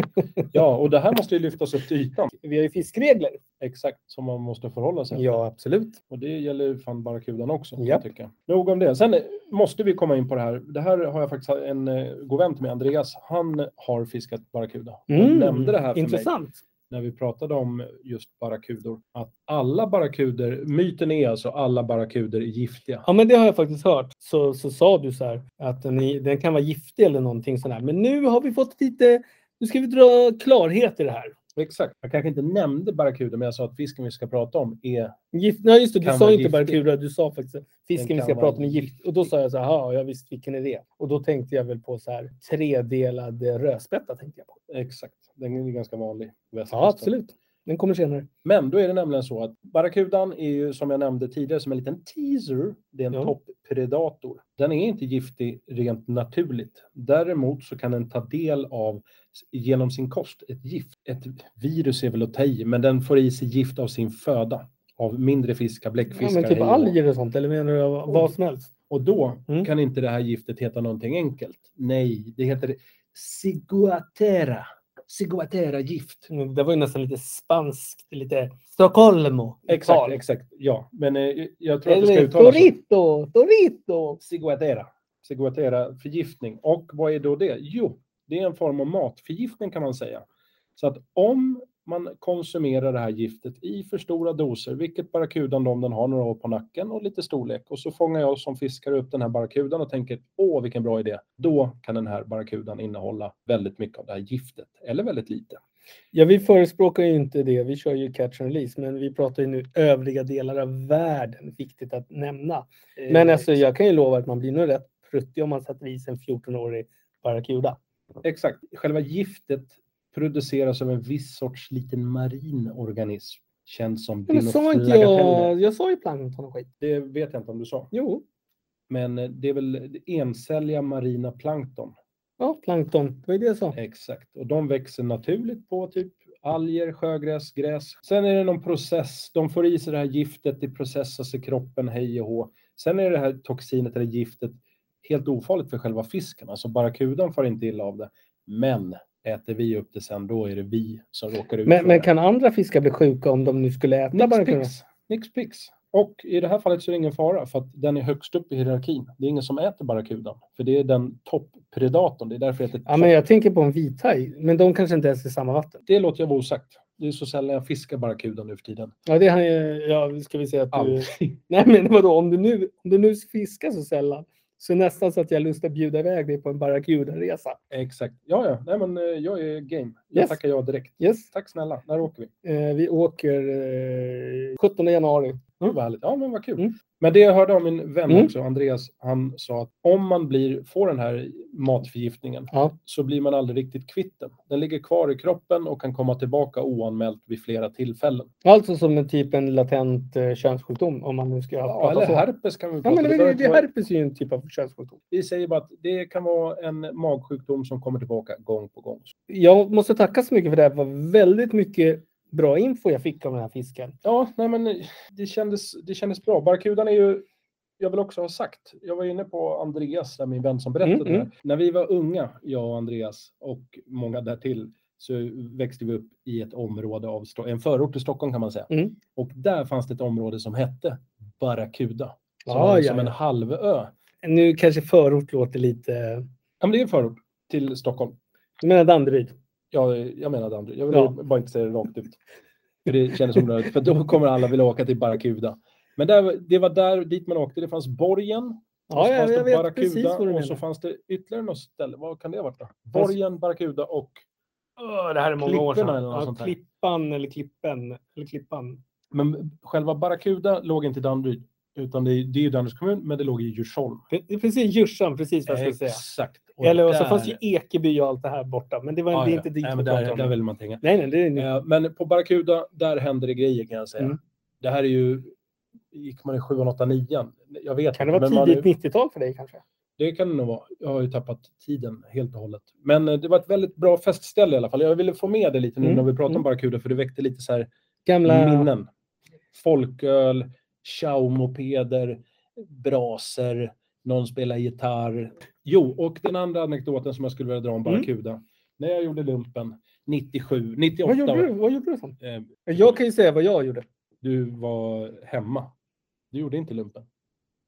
S3: ja, och det här måste ju lyftas upp till ytan.
S2: Vi har ju fiskregler.
S3: Exakt, som man måste förhålla sig
S2: Ja, absolut.
S3: Och det gäller ju fan barracudan också. kan
S2: Japp.
S3: Jag tycker. Nog om det. Sen eh, måste vi komma in på det här. Det här har jag faktiskt en eh, god vän till mig, Andreas. Han har fiskat barracuda. Han nämnde det här för mig
S2: Mm. Intressant.
S3: när vi pratade om just barracudor. Att alla barracuder, myten är alltså alla barracuder är giftiga.
S2: Ja, men det har jag faktiskt hört. Så, så sa du så här att den, är, den kan vara giftig eller någonting sånt där. Men nu har vi fått lite... Nu ska vi dra klarhet i det här.
S3: Exakt. Jag kanske inte nämnde barracuda, men jag sa att fisken vi ska prata om är...
S2: Gift, nej, just det. Du
S3: Kan
S2: sa
S3: vara
S2: inte
S3: giftig.
S2: barracuda, du sa faktiskt
S3: Den
S2: fisken vi
S3: kan
S2: ska
S3: vara
S2: prata med gift. Och då sa jag så här, "Jaha, ja visst, vilken är det? Och då tänkte jag väl på så här tredelad eh, rödspätta. Tänkte jag på.
S3: Exakt. Den är ganska vanlig.
S2: Ja, absolut. Den kommer senare.
S3: Men då är det nämligen så att barracudan är ju som jag nämnde tidigare som en liten teaser. Det är en
S2: Ja.
S3: topppredator. Den är inte giftig rent naturligt. Däremot så kan den ta del av genom sin kost ett gift. Ett virus är väl att ta i, men den får i sig gift av sin föda. Av mindre fiskar,
S2: Ja,
S3: bläckfiskar.
S2: men typ
S3: hej och hå.
S2: alger och sånt, eller menar du vad som helst?
S3: Och då
S2: Mm.
S3: kan inte det här giftet heta någonting enkelt. Nej, det heter ciguatera. Ciguatera-gift.
S2: Det var ju nästan lite spanskt, lite Stockholmo.
S3: Exakt, exakt. Ja, men eh, jag tror att det ska
S2: Eller
S3: uttalas så.
S2: Torito, Torito.
S3: Ciguatera. Ciguatera förgiftning. Och vad är då det? Jo, det är en form av matförgiftning kan man säga. Så att om man konsumerar det här giftet i för stora doser, vilket barracudan om den har några år på nacken och lite storlek, och så fångar jag som fiskare upp den här barracudan och tänker åh vilken bra idé, då kan den här barracudan innehålla väldigt mycket av det här giftet, eller väldigt lite.
S2: Ja, vi förespråkar ju inte det. Vi kör ju catch and release, men vi pratar ju nu övriga delar av världen. Viktigt att nämna. Men
S3: Eh,
S2: alltså, jag kan ju lova att man blir nog rätt pruttig om man sätter i sig en 14-årig barracuda.
S3: Exakt. Själva giftet produceras av en viss sorts liten marin organism. Känd som
S2: Men sa inte jag... Jag sa ju plankton och skit.
S3: Det vet jag inte om du sa.
S2: Jo,
S3: Men eh, det är väl encelliga marina plankton.
S2: ja, plankton. Det var ju det jag
S3: Eh,
S2: sa.
S3: Exakt. Och de växer naturligt på typ alger, sjögräs, gräs. Sen är det någon process. De får i sig det här giftet, det processas i kroppen, hej och hå. Sen är det här toxinet eller giftet helt ofarligt för själva fisken. Alltså barracudan får inte illa av det. Men äter vi upp det sen, då är det vi som råkar ut
S2: Men,
S3: för
S2: men
S3: det.
S2: kan andra fiskar bli sjuka om de nu skulle äta
S3: Nix
S2: barracuda?
S3: Pix. Nix Pix. Och i det här fallet så är det ingen fara för att den är högst upp i hierarkin. Det är ingen som äter barracudan, för det är den topppredatorn. Det är därför det heter
S2: Ja, men jag tänker på en vithaj, men de kanske inte ens är i samma vatten.
S3: Det låter jag vara osagt. Det är så sällan jag fiskar barracuda nu för tiden.
S2: Ja, det han ju- ja, ska vi säga att du...
S3: Aldrig.
S2: Nej, men vadå, om du, nu, om du nu fiskar så sällan så är det nästan så att jag har lust att bjuda iväg dig på en barracuda-resa.
S3: Exakt. Ja, ja. Nej, men eh, jag är game. Jag
S2: Yes.
S3: tackar jag direkt.
S2: Yes,
S3: Tack snälla. När åker vi?
S2: eh, vi åker eh, 17 januari.
S3: Gud vad härligt. Ja, men vad kul.
S2: Mm.
S3: Men det jag hörde av min vän
S2: Mm.
S3: också, Andreas, han sa att om man blir, får den här matförgiftningen
S2: Ja.
S3: så blir man aldrig riktigt kvitt den. Den ligger kvar i kroppen och kan komma tillbaka oanmält vid flera tillfällen.
S2: Alltså som en typ en latent eh, könssjukdom om man nu ska
S3: Ja,
S2: prata
S3: eller
S2: så.
S3: herpes kan vi
S2: Ja,
S3: prata
S2: men
S3: om.
S2: det,
S3: behöver
S2: det,
S3: inte
S2: det,
S3: vara-
S2: herpes är ju en typ av könssjukdom.
S3: Vi säger bara att det kan vara en magsjukdom som kommer tillbaka gång på gång.
S2: Jag måste tacka så mycket för det här. Det var väldigt mycket bra info jag fick om den här fisken.
S3: Ja, nej men det kändes, det kändes bra. Barracudan är ju, jag vill också ha sagt, jag var inne på Andreas, där min vän som berättade
S2: Mm,
S3: det här.
S2: mm.
S3: När vi var unga, jag och Andreas och många därtill, så växte vi upp i ett område av Sto- en förort till Stockholm kan man säga.
S2: Mm.
S3: Och där fanns det ett område som hette Barracuda. Som,
S2: Ah,
S3: var
S2: ja,
S3: som en
S2: ja.
S3: halvö.
S2: Nu kanske förort låter lite...
S3: Ja, men det är en förort till Stockholm.
S2: Du menar Danderyd?
S3: Ja, jag menade Andrew. Jag vill
S2: Ja.
S3: bara inte säga det rakt ut. För det kändes onödigt. För då kommer alla vilja åka till Barracuda. Men där, det var där dit man åkte. Det fanns borgen. och
S2: Ja,
S3: så
S2: ja
S3: fanns
S2: jag
S3: det
S2: vet
S3: Barracuda,
S2: precis vad du
S3: Och så
S2: menar.
S3: fanns det ytterligare något ställe. Vad kan det ha varit då? Borgen, Barracuda och...
S2: Öh, det här är
S3: Klipporna eller något
S2: Ja,
S3: sånt där.
S2: klippan eller klippen. Eller klippan.
S3: Men själva Barracuda låg inte i Danderyd. Utan det är, det är ju Danderyds kommun, men det låg i Djursholm.
S2: Pre- det- Precis, Djursan, precis vad jag skulle säga.
S3: Exakt.
S2: Eller och så
S3: där-
S2: fanns ju Ekeby och allt det här borta. Men det, var,
S3: Ja,
S2: det är
S3: ja.
S2: inte dit
S3: Nej,
S2: vi
S3: men
S2: pratar
S3: där,
S2: om.
S3: där vill man tänka.
S2: Nej, nej, det är nu.
S3: Eh, Men på Barracuda, där händer det grejer kan jag säga.
S2: Mm.
S3: Det här är ju, gick man i sjuan, åttan, nian? Jag vet
S2: Kan det
S3: inte,
S2: vara
S3: men
S2: tidigt
S3: man,
S2: 90-tal för dig kanske?
S3: Det kan det nog vara. Jag har ju tappat tiden helt och hållet. Men eh, det var ett väldigt bra festställe i alla fall. Jag ville få med det lite nu
S2: Mm,
S3: när vi pratar om
S2: mm.
S3: Barracuda, för det väckte lite så här
S2: Gamla...
S3: minnen. Folköl, tjaumopeder, braser, någon spelar gitarr. Jo, och den andra anekdoten som jag skulle vilja dra om
S2: Mm.
S3: Barracuda. När jag gjorde lumpen 97,
S2: Vad
S3: 98.
S2: gjorde du? Vad gjorde du sånt?
S3: eh,
S2: Jag kan ju säga vad jag gjorde.
S3: du var hemma. Du gjorde inte lumpen.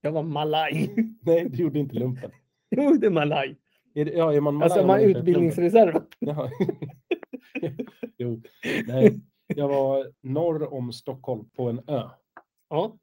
S2: Jag var malaj.
S3: Nej, du gjorde inte lumpen.
S2: Jag gjorde malaj.
S3: Är, det- ja, är man
S2: Alltså
S3: malaj om
S2: man
S3: inte lumpen?
S2: utbildningsreserv.
S3: Jaha. jo, nej. Jag var norr om Stockholm på en ö.
S2: Ja,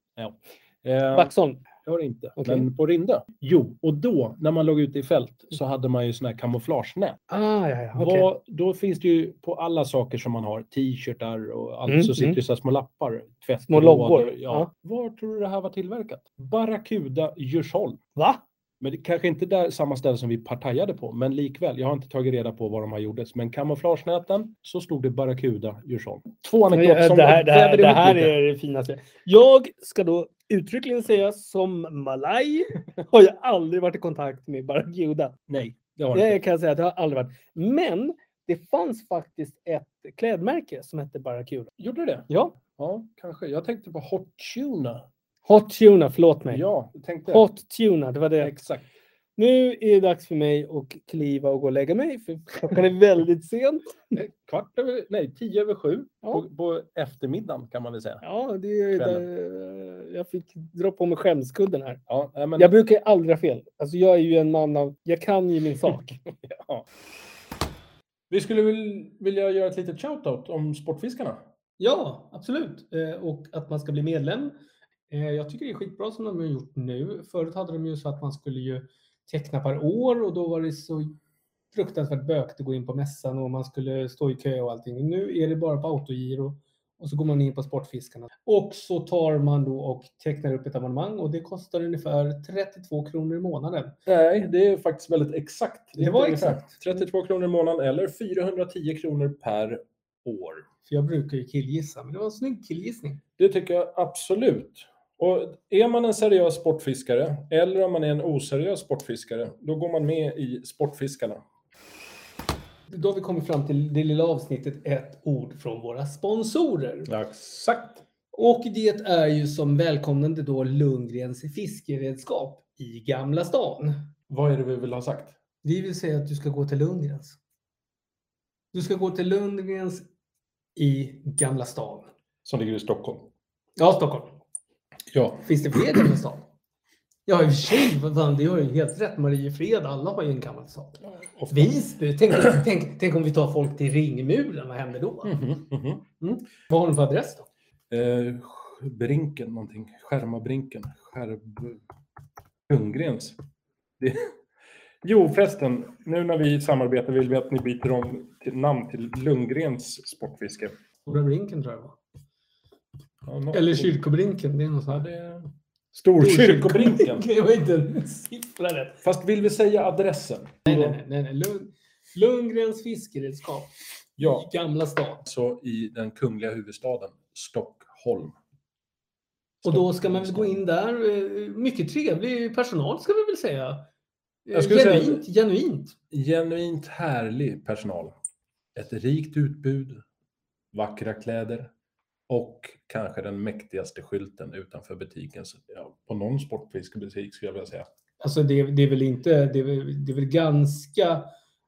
S3: Eh,
S2: Vaxholm.
S3: jag var det inte,
S2: Okej.
S3: men på Rindö. Jo, och då när man låg ute i fält så hade man ju sån här kamouflagenät.
S2: Ah, ja, ja. okej.
S3: Vad, då finns det ju på alla saker som man har, t-shirtar och allt,
S2: Mm,
S3: så sitter
S2: mm.
S3: ju så här små lappar. Tvätt,
S2: Små loggor,
S3: Ja.
S2: ja.
S3: Var tror du det här var tillverkat? Barracuda, Djursholm.
S2: Va?
S3: Men det kanske inte där samma ställe som vi partajade på, men likväl. Jag har inte tagit reda på var de har gjordes, men kamouflagenäten så stod det Barracuda Djursholm. Två anekdoter
S2: Ja,
S3: som
S2: Det här, det här,
S3: väver
S2: det
S3: ihop
S2: här
S3: lite.
S2: är det finaste. Jag ska då uttryckligen säga som malaj har jag aldrig varit i kontakt med barracuda.
S3: Nej, det har det
S2: Det
S3: inte.
S2: kan jag säga att jag har aldrig varit. Men det fanns faktiskt ett klädmärke som hette barracuda.
S3: Gjorde det?
S2: Ja,
S3: Ja, kanske. Jag tänkte på Hot Tuna.
S2: Hot Tuna, förlåt mig.
S3: Ja, jag tänkte.
S2: Hot Tuna, det var det.
S3: Exakt.
S2: Nu är det dags för mig att kliva och gå och lägga mig för klockan är väldigt sent.
S3: Eh, Kvart över, nej, tio över sju
S2: Ja.
S3: på, på eftermiddagen kan man väl säga.
S2: Ja, det är där, jag fick dra på mig skämskudden här.
S3: Ja, nej, men,
S2: Jag brukar ju aldrig ha fel. Alltså jag är ju en man av... Jag kan ju min sak.
S3: ja. Vi skulle väl vilja göra ett litet shoutout om Sportfiskarna.
S2: Ja, absolut. Eh, Och att man ska bli medlem. Eh, Jag tycker det är skitbra som de har gjort nu. Förut hade de ju så att man skulle ju teckna per år och då var det så fruktansvärt bökigt att gå in på mässan och man skulle stå i kö och allting. Nu är det bara på autogiro och så går man in på Sportfiskarna. Och så tar man då och tecknar upp ett abonnemang och det kostar ungefär 32 kronor i månaden.
S3: Nej, det är faktiskt väldigt exakt.
S2: Det var exakt.
S3: 32 kronor i månaden eller 410 kronor per år.
S2: För jag brukar ju killgissa, men det var en snygg killgissning.
S3: Det tycker jag absolut. Och är man en seriös sportfiskare eller om man är en oseriös sportfiskare, då går man med i Sportfiskarna.
S2: Då har vi kommit fram till det lilla avsnittet ett ord från våra sponsorer.
S3: Exakt.
S2: Och det är ju som välkomnande då Lundgrens fiskeredskap i Gamla stan.
S3: Vad är det vi vill ha sagt?
S2: Vi vill säga att du ska gå till Lundgrens. Du ska gå till Lundgrens i Gamla stan.
S3: Som ligger i Stockholm.
S2: Ja, Stockholm.
S3: Ja.
S2: Finns det fler i Gamla stan?
S4: Ja, i och för sig. vad Fan, det har ju helt rätt. Mariefred, alla har ju en gammal sak. Visby. Tänk, tänk, tänk om vi tar folk till Ringmuren. Vad händer då?
S3: Mm. Mhm,
S4: Vad har de för adress då?
S3: Eh, brinken någonting. Skärmabrinken. Skärb... Ljunggrens. Det... Jo förresten, nu när vi samarbetar vill vi att ni byter om till namn till Lundgrens Sportfiske.
S4: Stora Brinken tror jag det var.
S3: Ja, något-
S4: Eller Kyrkobrinken. Det är något sånt.
S3: Ja, det... Storkyrkobrinken.
S4: Det var inte en siffra rätt.
S3: Fast vill vi säga adressen?
S4: Nej, nej, nej. nej. Lund, Lundgrens fiskeredskap.
S3: Ja,
S4: Gamla stad.
S3: så i den kungliga huvudstaden Stockholm.
S4: Och då ska man väl gå in där. eh, Mycket trevlig personal ska vi väl säga. Eh,
S3: Jag skulle säga-
S4: genuint, genuint.
S3: Genuint härlig personal. Ett rikt utbud, vackra kläder och kanske den mäktigaste skylten utanför butiken. Så, Ja, på någon sportfiskebutik skulle jag vilja säga.
S4: Alltså det, det är väl inte, det är väl, det är väl ganska,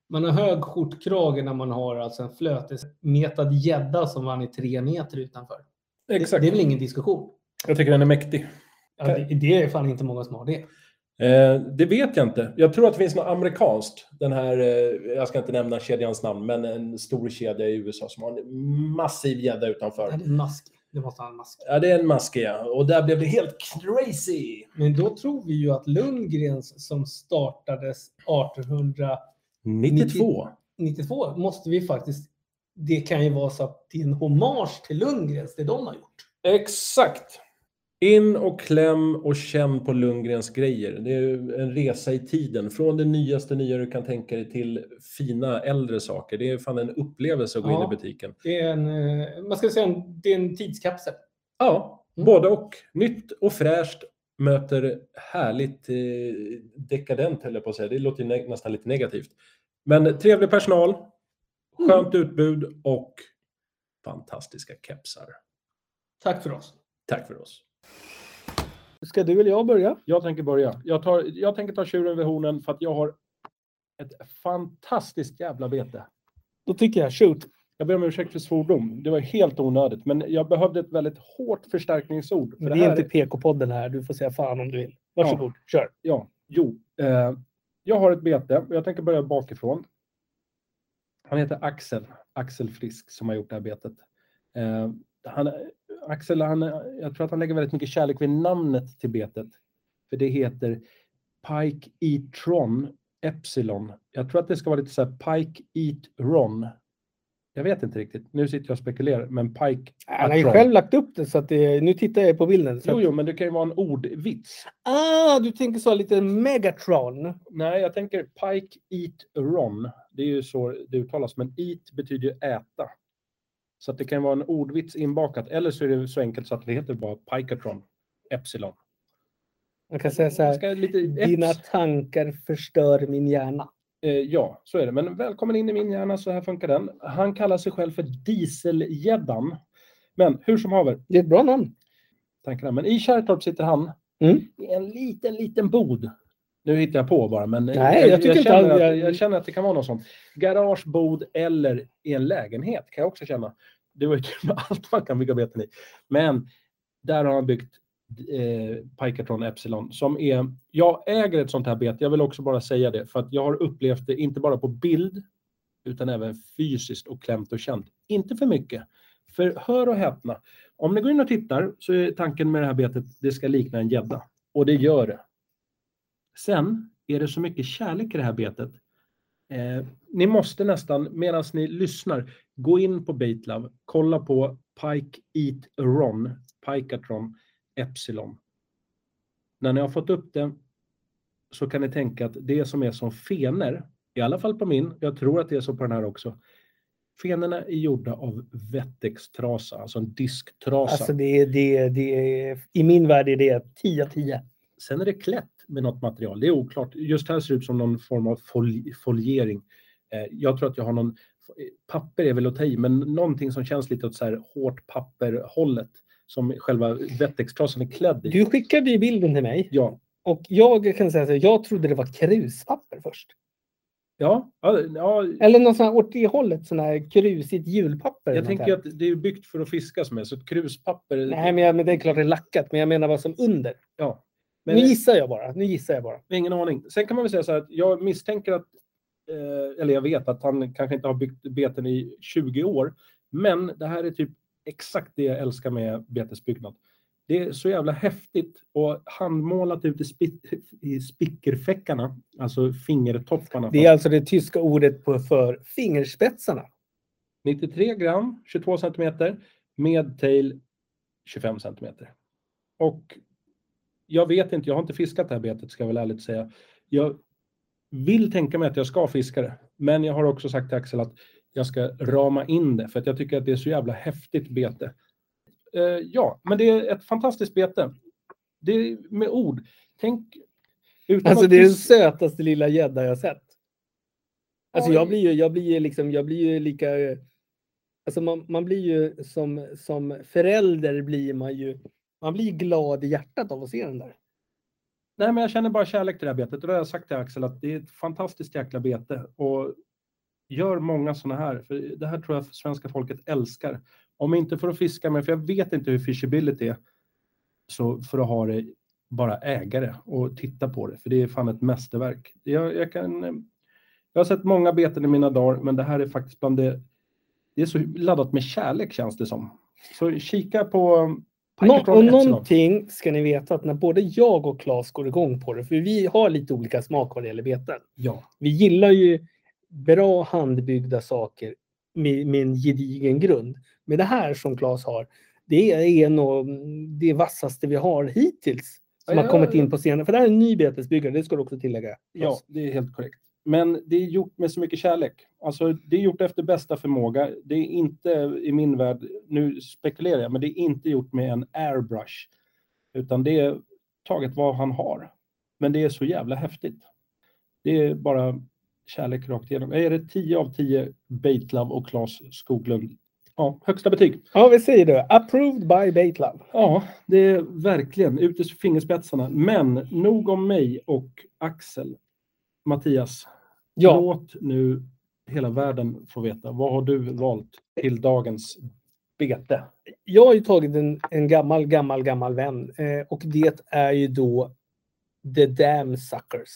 S4: man har hög skjortkrage när man har alltså en flötesmetad gädda som man är tre meter utanför.
S3: Exakt.
S4: Det, det är väl ingen diskussion.
S3: Jag tycker den är mäktig.
S4: Ja, det, det är fan inte många som har det.
S3: Eh, det vet jag inte. Jag tror att det finns något amerikanskt. Den här, eh, jag ska inte nämna kedjans namn, men en stor kedja i USA som har en massiv gädda
S4: Det
S3: utanför.
S4: är en mask. Det måste ha en mask.
S3: Ja, det är en maskig ja. Och där blev det helt crazy!
S4: Men då tror vi ju att Lundgrens som startades 1800
S3: 92.
S4: 92 måste vi faktiskt... Det kan ju vara så att det är en hommage till Lundgrens, det de har gjort.
S3: Exakt. In och kläm och känn på Lundgrens grejer. Det är ju en resa i tiden. Från det nyaste nya du kan tänka dig till fina äldre saker. Det är fan en upplevelse att gå
S4: Ja.
S3: in i butiken.
S4: Det är en, eh, man ska säga en, det är en tidskapsel.
S3: Ja,
S4: Mm.
S3: både och. Nytt och fräscht möter härligt eh, dekadent, höll jag på att säga. Det låter ju nä- nästan lite negativt. Men trevlig personal,
S4: Mm.
S3: skönt utbud och fantastiska kepsar.
S4: Tack för oss.
S3: Tack för oss.
S2: Ska du eller jag börja?
S3: Jag tänker börja. Jag, tar, jag tänker ta tjuren vid hornen för att jag har ett fantastiskt jävla bete.
S2: Då tycker jag shoot.
S3: Jag ber om ursäkt för svordom. Det var helt onödigt, men jag behövde ett väldigt hårt förstärkningsord. För
S2: det, är inte PK-podden här. Du får säga fan om du vill. Varsågod, kör.
S3: Ja, jo. Eh, jag har ett bete och jag tänker börja bakifrån. Han heter Axel, Axel Frisk som har gjort det här betet. Eh, han, Axel, han, jag tror att han lägger väldigt mycket kärlek vid namnet till betet. För det heter Pike Eat Ron Epsilon. Jag tror att det ska vara lite så här Pike Eat Ron. Jag vet inte riktigt. Nu sitter jag och spekulerar, men Pike...
S2: Han har ju
S3: Atron.
S2: själv lagt upp det så att det, nu tittar jag på bilden. Så
S3: Jo,
S2: att,
S3: jo, men det kan ju vara en ordvits.
S2: ah, du tänker så lite Megatron.
S3: Nej, jag tänker Pike Eat Ron. Det är ju så det uttalas, men eat betyder ju äta. Så att det kan vara en ordvits inbakat, eller så är det så enkelt så att det heter bara Pikatron, Epsilon.
S2: Man kan säga så här.
S3: Ska lite eps-
S2: Dina tankar förstör min hjärna.
S3: eh, ja, så är det. Men välkommen in i min hjärna, så här funkar den. Han kallar sig själv för Dieselgäddan. Men hur som haver,
S2: Det är ett bra namn.
S3: tankarna. Men i Kärrtorp sitter han
S2: Mm.
S3: i en liten, liten bod. Nu hittar jag på bara, men eh,
S2: Nej, jag tycker inte
S3: känner
S2: han-
S3: att,
S2: jag-
S3: jag känner att det kan vara något sånt. Garage, bod eller i en lägenhet kan jag också känna. Det var ju typ allt man kan bygga beten i. Men där har han byggt eh, Pikatron Epsilon som är... Jag äger ett sånt här bete, jag vill också bara säga det, för att jag har upplevt det inte bara på bild utan även fysiskt och klämt och känt. Inte för mycket. För hör och häpna, om ni går in och tittar så är tanken med det här betet det ska likna en gädda. Och det gör det. Sen är det så mycket kärlek i det här betet. Eh, ni måste nästan, medan ni lyssnar, gå in på Baitlove, kolla på Pike Eat Ron, Pikatron Epsilon. När ni har fått upp det så kan ni tänka att det som är som fener, i alla fall på min, jag tror att det är så på den här också, Fenorna är gjorda av wettextrasa, alltså en disktrasa.
S2: Alltså det är, det är, det är, I min värld är det 10 av 10.
S3: Sen är det klätt med något material. Det är oklart. Just här ser det ut som någon form av fol- foliering. Eh, jag tror att jag har någon... eh, Papper är väl att ta i, men någonting som känns lite åt så här hårt papperhållet som själva wettextrasan är klädd i.
S2: Du skickade ju bilden till mig
S3: Ja,
S2: och jag kan säga så här, jag trodde det var kruspapper först.
S3: ja, ja, ja.
S2: Eller något sånt här åt det hållet, sån här krusigt julpapper. eller
S3: Jag
S2: något
S3: tänker
S2: här.
S3: att det är byggt för att fiska som är, så ett kruspapper...
S2: Nej, men, jag, men det är klart det är lackat, men jag menar vad som under.
S3: Ja. Men-
S2: nu gissar jag bara. Nu gissar jag bara.
S3: Jag har Ingen aning. Sen kan man väl säga så här att jag misstänker att, eh, eller jag vet att han kanske inte har byggt beten i 20 år, men det här är typ exakt det jag älskar med betesbyggnad. Det är så jävla häftigt och handmålat ut i, spi- i spickerfäckarna, alltså fingertopparna.
S2: Det är alltså det tyska ordet på för fingerspetsarna.
S3: 93 gram, 22 centimeter, med tail 25 centimeter. Och jag vet inte, jag har inte fiskat det här betet ska jag väl ärligt säga. Jag vill tänka mig att jag ska fiska det, men jag har också sagt till Axel att jag ska rama in det för att jag tycker att det är så jävla häftigt bete. Eh, ja, men det är ett fantastiskt bete. Det är med ord. Tänk... Utan
S2: Alltså
S3: att
S2: det är den
S3: dis-
S2: sötaste lilla gädda jag sett. Alltså jag
S3: Oj.
S2: blir ju, jag blir ju liksom, jag blir ju lika... eh, Alltså man, man blir ju som, som förälder blir man ju, man blir glad i hjärtat av att se den där.
S3: Nej, men jag känner bara kärlek till det här betet. Och då har jag sagt till Axel att det är ett fantastiskt jäkla bete. Och gör många sådana här. För det här tror jag svenska folket älskar. Om inte för att fiska, men för jag vet inte hur fishability är. Så för att ha det bara ägare och titta på det. För det är fan ett mästerverk. Jag, jag, kan, eh, jag har sett många beten i mina dagar, men det här är faktiskt bland det... Det är så laddat med kärlek känns det som. Så kika på... eh,
S2: Nå-
S3: Piketon
S2: och
S3: Epsilon.
S2: någonting ska ni veta att när både jag och Claes går igång på det, för vi har lite olika smak vad det gäller beten.
S3: Ja.
S2: Vi gillar ju bra handbyggda saker med, med en gedigen grund. Men det här som Claes har, det är nog det vassaste vi har hittills. Som
S3: Ja,
S2: har
S3: ja,
S2: kommit
S3: ja.
S2: in på scenen. För det här är en ny betesbyggare, det ska du också tillägga. Claes.
S3: Ja, det är helt korrekt. Men det är gjort med så mycket kärlek. Alltså, det är gjort efter bästa förmåga. Det är inte i min värld, nu spekulerar jag, men det är inte gjort med en airbrush. Utan det är taget vad han har. Men det är så jävla häftigt. Det är bara kärlek rakt igenom. Är det 10 av 10 Baitlove och Claes Skoglund? Ja, högsta betyg.
S2: Ja, vi säger det. Approved by Baitlab.
S3: Ja, det är verkligen ut i fingerspetsarna. Men nog om mig och Axel. Mattias,
S2: Ja,
S3: Låt nu hela världen få veta. Vad har du valt till dagens bete?
S2: jag har ju tagit en, en gammal, gammal, gammal vän. Eh, och det är ju då The Damn Suckers.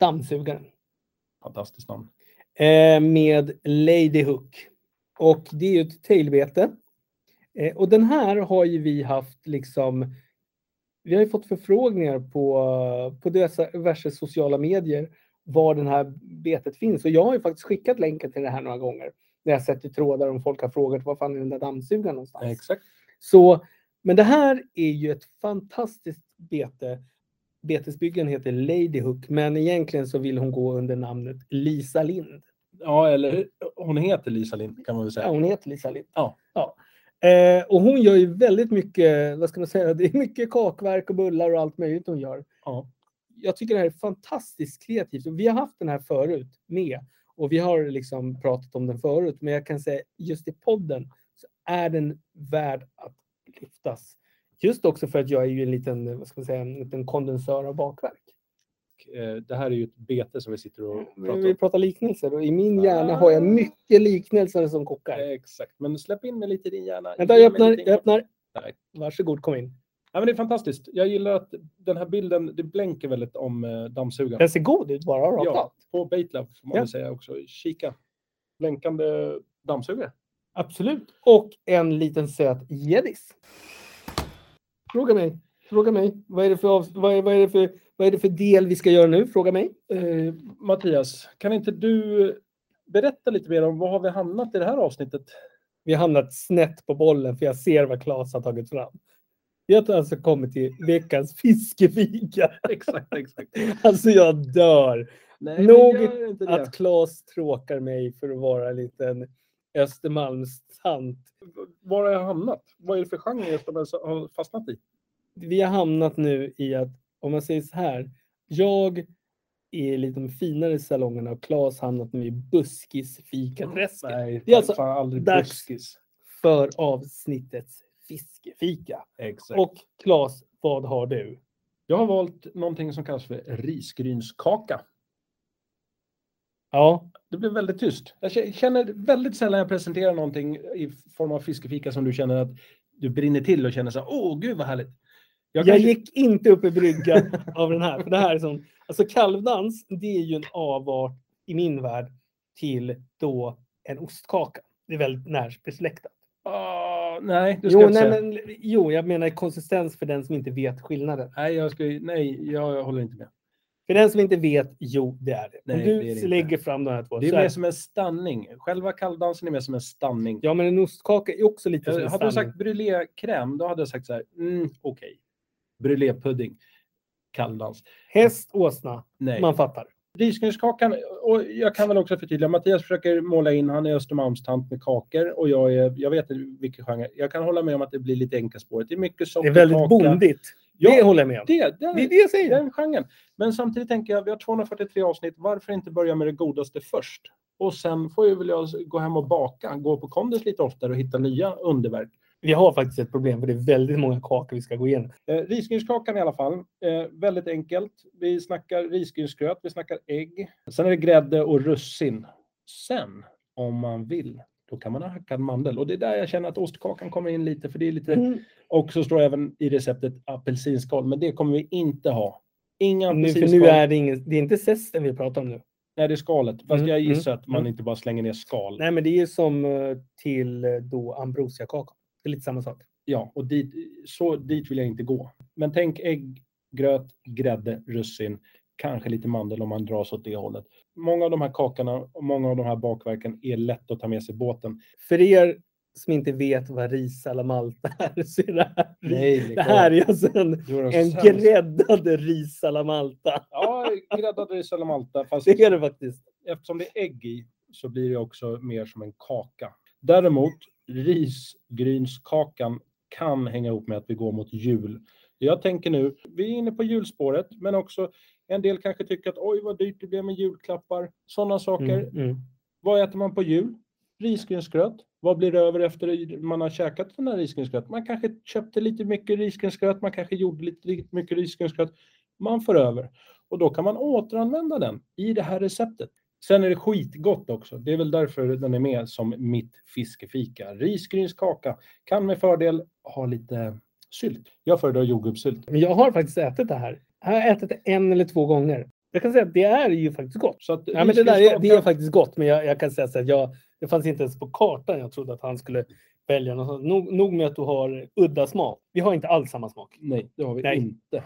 S2: Dammsugaren.
S3: Fantastiskt namn.
S2: eh, med Lady Hook. Och det är ju ett tailbete. Eh, och den här har ju vi haft liksom... Vi har ju fått förfrågningar på, på dessa diverse sociala medier var den här betet finns. Och jag har ju faktiskt skickat länken till det här några gånger. När jag sett i trådar om folk har frågat var fan är den där dammsugaren någonstans.
S3: Exakt.
S2: Så, men det här är ju ett fantastiskt bete. Betesbyggen heter Lady Hook, men egentligen så vill hon gå under namnet Lisa Lind.
S3: Ja, eller hon heter Lisa Lind kan man väl
S2: Ja,
S3: säga.
S2: hon heter Lisa Lind.
S3: Ja.
S2: ja. Eh, och hon gör ju väldigt mycket, vad ska man säga, det är mycket kakverk och bullar och allt möjligt hon gör.
S3: Ja.
S2: Jag tycker det här är fantastiskt kreativt. Och vi har haft den här förut med och vi har liksom pratat om den förut. Men jag kan säga just i podden så är den värd att lyftas. Just också för att jag är ju en liten, vad ska man säga, en liten kondensör av bakverk.
S3: Eh, Det här är ju ett bete som vi sitter och pratar
S2: Vi
S3: om.
S2: pratar liknelser och i min
S3: Ah.
S2: hjärna har jag mycket liknelser som kokar.
S3: Exakt, men släpp in mig lite i din hjärna.
S2: Vänta,
S3: Ge
S2: jag
S3: mig Eh, lite
S2: öppnar. Jag
S3: information.
S2: öppnar.
S3: Nej.
S2: Varsågod, kom in.
S3: Ja, men det är fantastiskt. Jag gillar att den här bilden, det blänker väldigt om eh, dammsugaren.
S2: Den ser god ut bara rakt av.
S3: Ja, på Baitlab får man
S2: Ja.
S3: väl säga också. Kika. Blänkande dammsugare.
S2: Absolut. Och en liten söt gäddis. Fråga mig. Fråga mig. Vad är, det för avs- vad, är, vad, är det för, vad är det för del vi ska göra nu? Fråga mig.
S3: Eh, Mattias, kan inte du berätta lite mer om vad har vi hamnat i det här avsnittet?
S2: Vi har hamnat snett på bollen för jag ser vad Claes har tagit fram. Vi har alltså kommit till veckans fiskefika.
S3: exakt, exakt.
S2: Alltså jag dör.
S3: Nej,
S2: men
S3: Nog
S2: gör
S3: inte det.
S2: Att Claes tråkar mig för att vara en liten Östermalmstant.
S3: Var har jag hamnat? Vad är det för genre som jag har fastnat i?
S2: vi har hamnat nu i att, om man säger så här, jag är lite de finare salongerna och Claes har hamnat nu i buskisfikaträsket
S3: Nej,
S2: Det är alltså
S3: fan aldrig
S2: dags.
S3: buskis.
S2: för avsnittets fiskefika.
S3: Exakt.
S2: Och Claes, vad har du?
S3: jag har valt någonting som kallas för risgrynskaka.
S2: Ja,
S3: Det blev väldigt tyst. Jag k- känner väldigt sällan jag presenterar någonting i form av fiskefika som du känner att du brinner till och känner så här, åh gud vad härligt. Jag
S2: Jag,
S3: kanske-
S2: gick inte upp i bryggan av den här. För det här är sån, alltså kalvdans, det är ju en avart i min värld till då en ostkaka. Det är väldigt närbesläktat.
S3: Ah, nej, du ska
S2: Jo,
S3: inte
S2: nej,
S3: säga.
S2: men, jo, jag menar konsistens för den som inte vet skillnaden.
S3: Nej, jag, ska, nej jag, jag håller inte med.
S2: För den som inte vet, jo, det är det. Om
S3: Nej,
S2: du
S3: det är det inte.
S2: lägger fram de här två.
S3: Det
S2: så
S3: är
S2: är
S3: mer
S2: det.
S3: som en stanning. Själva kalldansen är mer som en stanning.
S2: Ja, men en ostkaka är också lite
S3: Jag,
S2: som en
S3: hade du
S2: stanning.
S3: sagt brulékräm, då hade jag sagt så här, mm, okej. Brulépudding. Kalldans.
S2: Häst, åsna,
S3: Nej.
S2: man fattar.
S3: Risgrynskakan, och jag kan väl också förtydliga, Mattias försöker måla in, han är Östermalmstant med kakor och jag är, jag vet inte vilken genre. Jag kan hålla med om att det blir lite enkaspårigt. Det är mycket
S2: Det är
S3: sockerkaka.
S2: väldigt bondigt.
S3: Ja,
S2: det håller jag med om.
S3: det, det,
S2: Det är det jag säger.
S3: den genren. Men samtidigt tänker jag, vi har 243 avsnitt, varför inte börja med det godaste först? Och sen får ju väl jag gå hem och baka, gå på kondis lite oftare och hitta nya underverk.
S2: Vi har faktiskt ett problem för det är väldigt många kakor vi ska gå igenom.
S3: Eh, risgrynskakan i alla fall, eh, väldigt enkelt. Vi snackar risgrynsgröt, vi snackar ägg. Sen är det grädde och russin. Sen, om man vill, då kan man ha hackad mandel. Och det är där jag känner att ostkakan kommer in lite, för det är lite...
S2: Mm.
S3: Och så står det även i receptet apelsinskal, men det kommer vi inte ha. Inga
S2: Nu, för
S3: apelsinskal.
S2: nu är det, ingen, det är inte zesten vi pratar om nu.
S3: Nej, det är skalet. Fast
S2: Mm,
S3: jag gissar att man
S2: mm.
S3: inte bara slänger ner skal.
S2: Nej, men det är ju som eh, till eh, då ambrosiakaka. Det är lite samma sak.
S3: Ja, och dit, så, dit vill jag inte gå. Men tänk ägg, gröt, grädde, russin, kanske lite mandel om man dras åt det hållet. Många av de här kakorna och många av de här bakverken är lätt att ta med sig i båten.
S2: För er som inte vet vad ris à la Malta är, så är det här,
S3: Nej,
S2: det här är alltså en,
S3: Du är den
S2: en
S3: sämsta.
S2: gräddad ris à la Malta.
S3: Ja, gräddad ris eller malta. Fast
S2: Det är det faktiskt.
S3: eftersom det är ägg i så blir det också mer som en kaka. Däremot risgrynskakan kan hänga ihop med att vi går mot jul. Jag tänker nu, vi är inne på julspåret, men också en del kanske tycker att oj vad dyrt det blev med julklappar. Sådana saker.
S2: Mm, mm.
S3: Vad äter man på jul? Risgrynsgröt. Vad blir det över efter man har käkat den här risgrynsgröt? Man kanske köpte lite mycket risgrynsgröt, man kanske gjorde lite, lite mycket risgrynsgröt. Man får över och då kan man återanvända den i det här receptet. Sen är det skitgott också. Det är väl därför den är med som mitt fiskefika. Risgrynskaka kan med fördel ha lite sylt. Jag föredrar jordgubbssylt.
S2: Men jag har faktiskt ätit det här. Jag har ätit det en eller två gånger. Jag kan säga att det är ju faktiskt gott.
S3: Så att
S2: Ja, men det, där är, det är
S3: risgrynskaka-
S2: faktiskt gott, men jag, jag kan säga så att jag, det fanns inte ens på kartan jag trodde att han skulle välja något. sånt. Nog, nog med att du har udda smak. Vi har inte alls samma smak.
S3: Nej, det har vi
S2: Nej.
S3: inte.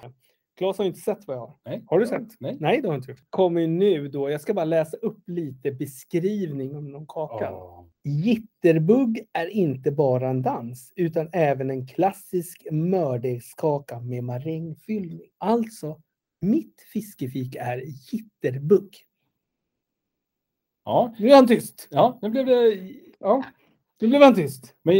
S2: Claes har ju inte sett vad jag har.
S3: Nej.
S2: Har du sett?
S3: Nej.
S2: Nej, det har jag inte gjort. Kommer ju nu då. Jag ska bara läsa upp lite beskrivning om någon kaka.
S3: Åh.
S2: Jitterbug är inte bara en dans utan även en klassisk mördegskaka med marängfyllning. Alltså, mitt fiskefik är jitterbug.
S3: Ja,
S2: Nu är han tyst.
S3: ja, nu blev det... Ja.
S2: Nu blev han tyst.
S3: Men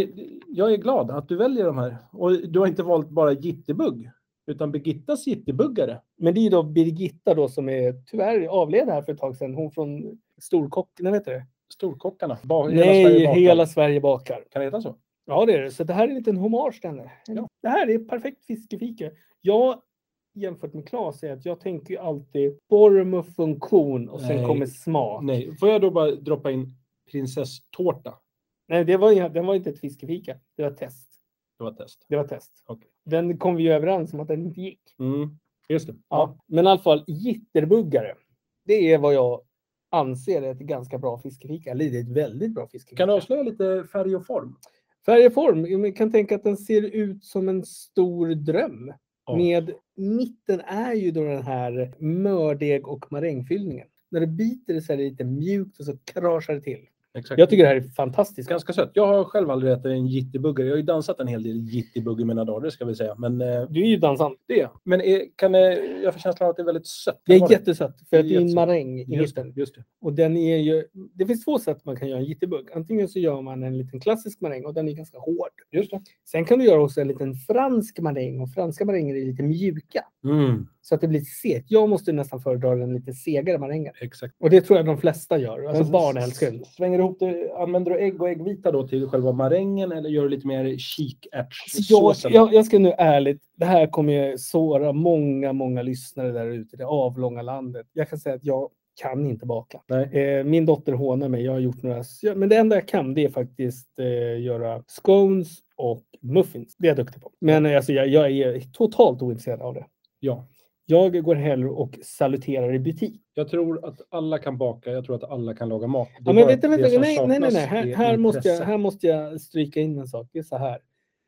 S3: jag är glad att du väljer de här. Och du har inte valt bara Jittebugg, utan Birgittas Jittebuggare.
S2: Men det är ju då Birgitta då som är tyvärr avled här för ett tag sedan. Hon från Storkock... Nej, vet du det?
S3: Storkockarna. Ba-
S2: Nej,
S3: Sverige bakar.
S2: Hela Sverige bakar.
S3: Kan det heta så?
S2: Ja, det är det. Så det här är en liten hommage till henne.
S3: Ja.
S2: Det här är perfekt fiskefika. Jag jämfört med Claes är att jag tänker ju alltid form och funktion och sen
S3: Nej.
S2: kommer smak. Nej,
S3: Nej, får jag då bara droppa in prinsesstårta?
S2: det, var, ju- den var inte ett fiskefika. Det var ett test.
S3: Det var ett test.
S2: Det var ett test.
S3: Okej.
S2: Den kom vi ju överens om att den inte gick.
S3: Mm. Just det.
S2: Ja. Men i alla fall, jitterbuggare. Det är vad jag anser är ett ganska bra fiskefika. Eller det är ett väldigt bra fiskefika.
S3: Kan du avslöja lite färg och form?
S2: Färg och form. Man kan tänka att den ser ut som en stor dröm.
S3: Ja.
S2: Med mitten är ju då den här mördeg och marängfyllningen. När du biter så är det lite mjukt och så kraschar det till.
S3: Exakt.
S2: Jag tycker det här är fantastiskt.
S3: Ganska sött. Jag har själv aldrig ätit en jittebuggare. Jag har ju dansat en hel del jittebugg i mina dagar, det ska vi säga. Men eh,
S2: Du är ju dansant.
S3: det. Men är, kan, eh, jag får känslan av att det är väldigt sött.
S2: Det
S3: Kan vara
S2: är jättesött för
S3: Det är
S2: att det är en
S3: jättesött.
S2: maräng i
S3: Just det.
S2: mitten.
S3: Just det.
S2: Och den är ju, det finns två sätt man kan göra en jitterbug. Antingen så gör man en liten klassisk maräng och den är ganska hård.
S3: Just det.
S2: Sen kan du göra också en liten fransk maräng och franska maränger är lite mjuka.
S3: Mm.
S2: Så att det blir segt. Jag måste nästan föredra den lite segare marängen.
S3: Exakt.
S2: Och det tror jag de flesta gör. Alltså
S3: Men
S2: barn
S3: s-
S2: älskar den.
S3: Svänger du ihop det, använder du ägg och äggvita då till själva marängen eller gör du lite mer
S2: Jag,
S3: kikärtssåsen?
S2: jag, jag ska nu ärligt, det här kommer ju såra många, många lyssnare där ute i det avlånga landet. Jag kan säga att jag kan inte baka.
S3: Nej.
S2: Eh, min dotter hånar mig. Jag har gjort några, ja, men det enda jag kan det är faktiskt eh, göra scones och muffins. Det är jag duktig på. Men eh, alltså, jag, jag är totalt ointresserad av det.
S3: Ja.
S2: Jag går hellre och saluterar i butik.
S3: Jag tror att alla kan baka, jag tror att alla kan laga mat. Det är
S2: Ja,
S3: bara
S2: men vänta,
S3: det
S2: vänta,
S3: som
S2: nej, nej, nej,
S3: saknas
S2: nej. Här,
S3: är
S2: här, måste jag,
S3: intresse.
S2: här måste jag stryka in en sak. Det är så här.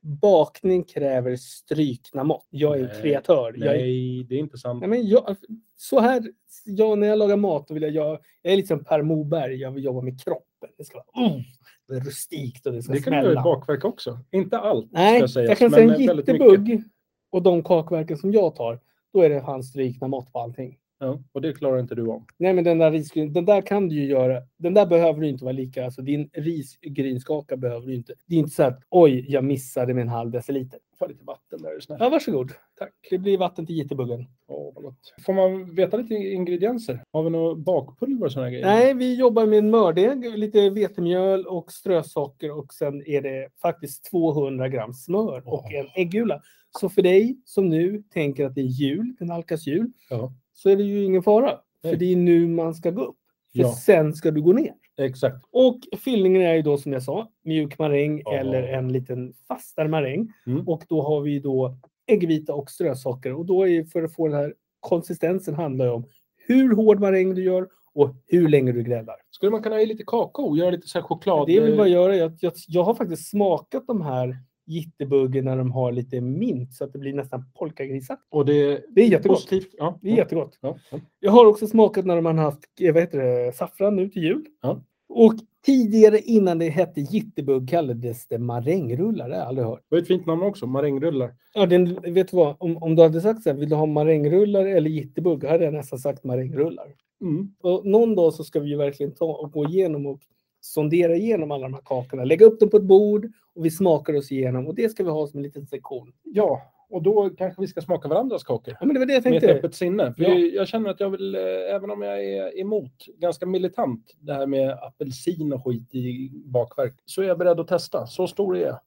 S2: Bakning kräver strykna mått. Jag är
S3: Nej,
S2: en kreatör. Jag är
S3: Nej, det är inte sant.
S2: Nej, men jag, så här, jag, när jag lagar mat, då vill jag, jag, jag är lite som Per Moberg, jag vill jobba med kroppen. Det ska vara mm, det är rustikt och det ska
S3: Det kan du göra i
S2: smälla.
S3: bakverk också. Inte allt,
S2: Nej,
S3: ska
S2: jag,
S3: sägas,
S2: kan säga
S3: men
S2: en
S3: väldigt mycket.
S2: jittebugg och de kakverken som jag tar, då är det fan strykna mått på allting.
S3: Ja, och det klarar inte du om.
S2: Nej, men den där risgryn, den där kan du ju göra. Den där behöver du inte vara lika, alltså din risgrynskaka behöver du inte. Det är inte så att oj, jag missade min halv deciliter.
S3: Får lite vatten där är du snäll.
S2: Ja, varsågod.
S3: Tack. Mm.
S2: Det blir vatten till jittebuggen.
S3: Åh, vad gott. Får man veta lite ingredienser? Har vi något bakpulver och sådana grejer?
S2: Nej, vi jobbar med en mördeg, lite vetemjöl och strösocker och sen är det faktiskt 200 gram smör och
S3: Åh.
S2: en äggula. Så för dig som nu tänker att det är jul, det nalkas jul,
S3: Ja,
S2: så är det ju ingen fara.
S3: Nej.
S2: För det är nu man ska gå upp. För
S3: ja
S2: sen ska du gå ner.
S3: exakt.
S2: Och fyllningen är ju då som jag sa, mjuk maräng
S3: Ja.
S2: eller en liten fastare maräng.
S3: Mm.
S2: Och då har vi då äggvita och strösocker. Och då är ju för att få den här konsistensen handlar det om hur hård maräng du gör och hur länge du gräddar.
S3: Skulle man kunna ha i lite kakao? Göra lite så här choklad?
S2: Det vill bara göra är att jag, jag har faktiskt smakat de här jittebuggen när de har lite mint så att det blir nästan polkagrisar.
S3: Och det
S2: Det är jättegott.
S3: positivt. Ja.
S2: Det är jättegott.
S3: ja. ja.
S2: Jag har också smakat när de har haft eh, vad heter det, saffran nu till jul.
S3: Ja.
S2: Och tidigare innan det hette jittebugg kallades det marängrullar. Det har jag aldrig hört.
S3: Det var ett fint namn också, marängrullar.
S2: Ja, den, vet du vad? Om, om du hade sagt så här, vill du ha marängrullar eller jittebugg? Då hade jag nästan sagt marängrullar.
S3: Mm.
S2: Och någon dag så ska vi ju verkligen ta och gå igenom och sondera igenom alla de här kakorna. Lägga upp dem på ett bord och vi smakar oss igenom och det ska vi ha som en liten sektion.
S3: Ja, och då kanske vi ska smaka varandras kakor.
S2: Ja, men det var det jag
S3: med ett
S2: tänkte.
S3: öppet sinne. För
S2: Ja.
S3: Jag känner att jag vill, eh, även om jag är emot, ganska militant, det här med apelsin och skit i bakverk, så är jag beredd att testa. Så stor är jag.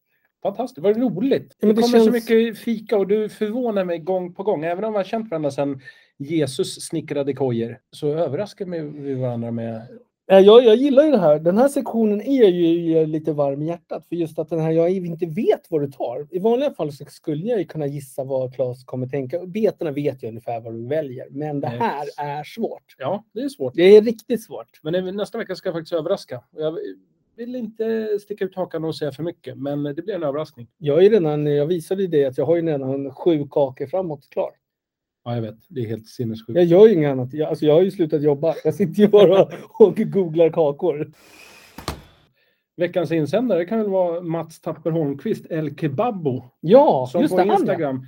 S3: Fantastiskt, vad roligt.
S2: Ja,
S3: det
S2: men det
S3: kommer så
S2: känns-
S3: mycket fika och du förvånar mig gång på gång. Även om vi har känt varandra sedan Jesus snickrade kojor, så överraskar vi- vi varandra med...
S2: Äh, Jag, jag gillar ju det här. Den här sektionen är jag ju jag är lite varm i hjärtat för just att den här, jag inte vet vad du tar. I vanliga fall så skulle jag ju kunna gissa vad Claes kommer tänka. Betorna vet jag ungefär vad du väljer, men det
S3: Nej,
S2: här
S3: precis.
S2: är svårt.
S3: Ja, det är svårt.
S2: Det är riktigt svårt.
S3: Men även nästa vecka ska jag faktiskt överraska. Och Jag vill inte sticka ut hakan och säga för mycket, men det blir en överraskning.
S2: Jag, är ju redan, jag visade ju det att jag har ju redan sju kakor framåt klar.
S3: Ja, jag vet. Det är helt sinnessjukt.
S2: Jag gör ju inget annat. Jag, alltså jag har ju slutat jobba. Jag sitter ju bara och googlar kakor.
S3: Veckans insändare kan väl vara Mats Tapper Holmqvist, El Kebabbo,
S2: Ja,
S3: som
S2: just
S3: på
S2: det. Han, ja.
S3: Instagram.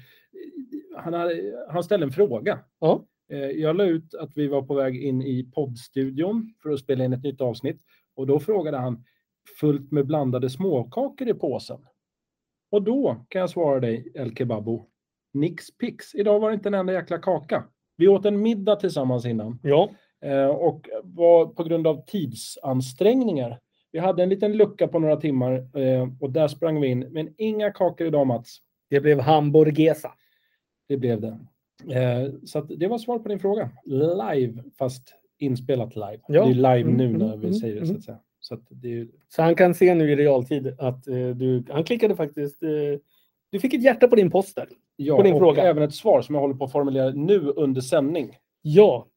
S3: Han, hade, han ställde en fråga.
S2: Ja.
S3: Eh, Jag la ut att vi var på väg in i poddstudion för att spela in ett nytt avsnitt och då frågade han fullt med blandade småkakor i påsen. Och då kan jag svara dig, El Kebabbo, nix pix. Idag var det inte en enda jäkla kaka. Vi åt en middag tillsammans innan.
S2: ja.
S3: Eh, och var på grund av tidsansträngningar. Vi hade en liten lucka på några timmar eh, och där sprang vi in. Men inga kakor idag Mats.
S2: Det blev hamburgesa.
S3: Det blev det. Eh, så att det var svar på din fråga. Live, fast inspelat live.
S2: Ja.
S3: Det är live
S2: Mm,
S3: nu
S2: mm,
S3: när vi
S2: mm,
S3: säger det så
S2: mm.
S3: att säga. Så att det är ju
S2: Så han kan se nu i realtid att eh, du... Han klickade faktiskt... Eh, du fick ett hjärta på din post där.
S3: ja,
S2: På din
S3: och
S2: fråga.
S3: även ett svar som jag håller på att formulera nu under sändning.
S2: Ja.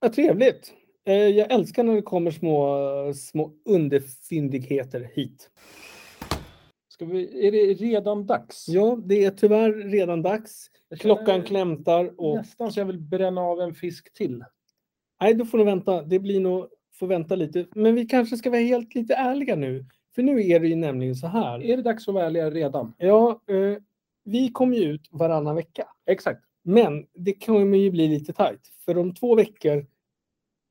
S2: ja trevligt. Eh, jag älskar när det kommer små, små underfyndigheter hit.
S3: Ska vi, är det redan dags?
S2: Ja, det är tyvärr redan dags.
S3: Jag känner
S2: Klockan klämtar och...
S3: Nästan så jag vill bränna av en fisk till.
S2: Nej, då får du vänta. Det blir nog, får vänta lite. Men vi kanske ska vara helt lite ärliga nu. För nu är det ju nämligen så här.
S3: Är det dags att vara ärliga redan?
S2: Ja, eh, vi kommer ju ut varannan vecka.
S3: Exakt.
S2: Men det kommer ju bli lite tajt. För om två veckor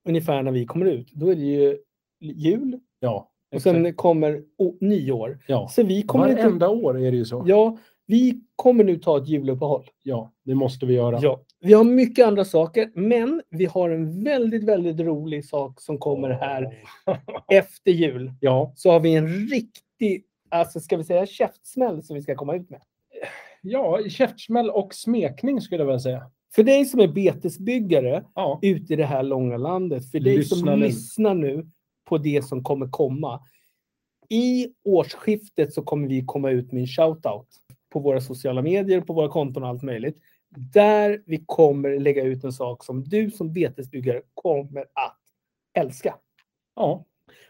S2: ungefär när vi kommer ut, då är det ju jul
S3: Ja.
S2: och
S3: exakt.
S2: sen kommer o- nyår.
S3: ja.
S2: Så vi kommer, inte,
S3: Varenda år är det ju så.
S2: ja, vi kommer nu ta ett juluppehåll.
S3: Ja, det måste vi göra.
S2: Ja, vi har mycket andra saker, men vi har en väldigt, väldigt rolig sak som kommer här efter jul.
S3: Ja,
S2: så har vi en riktig, alltså ska vi säga käftsmäll som vi ska komma ut med.
S3: ja käftsmäll och smekning skulle jag vilja säga.
S2: För dig som är betesbyggare
S3: Ja.
S2: ute i det här långa landet, för dig
S3: Lyssna
S2: som
S3: nu.
S2: lyssnar nu på det som kommer komma. I årsskiftet så kommer vi komma ut med en shoutout på våra sociala medier, på våra konton och allt möjligt. Där vi kommer lägga ut en sak som du som betesbyggare kommer att älska.
S3: ja.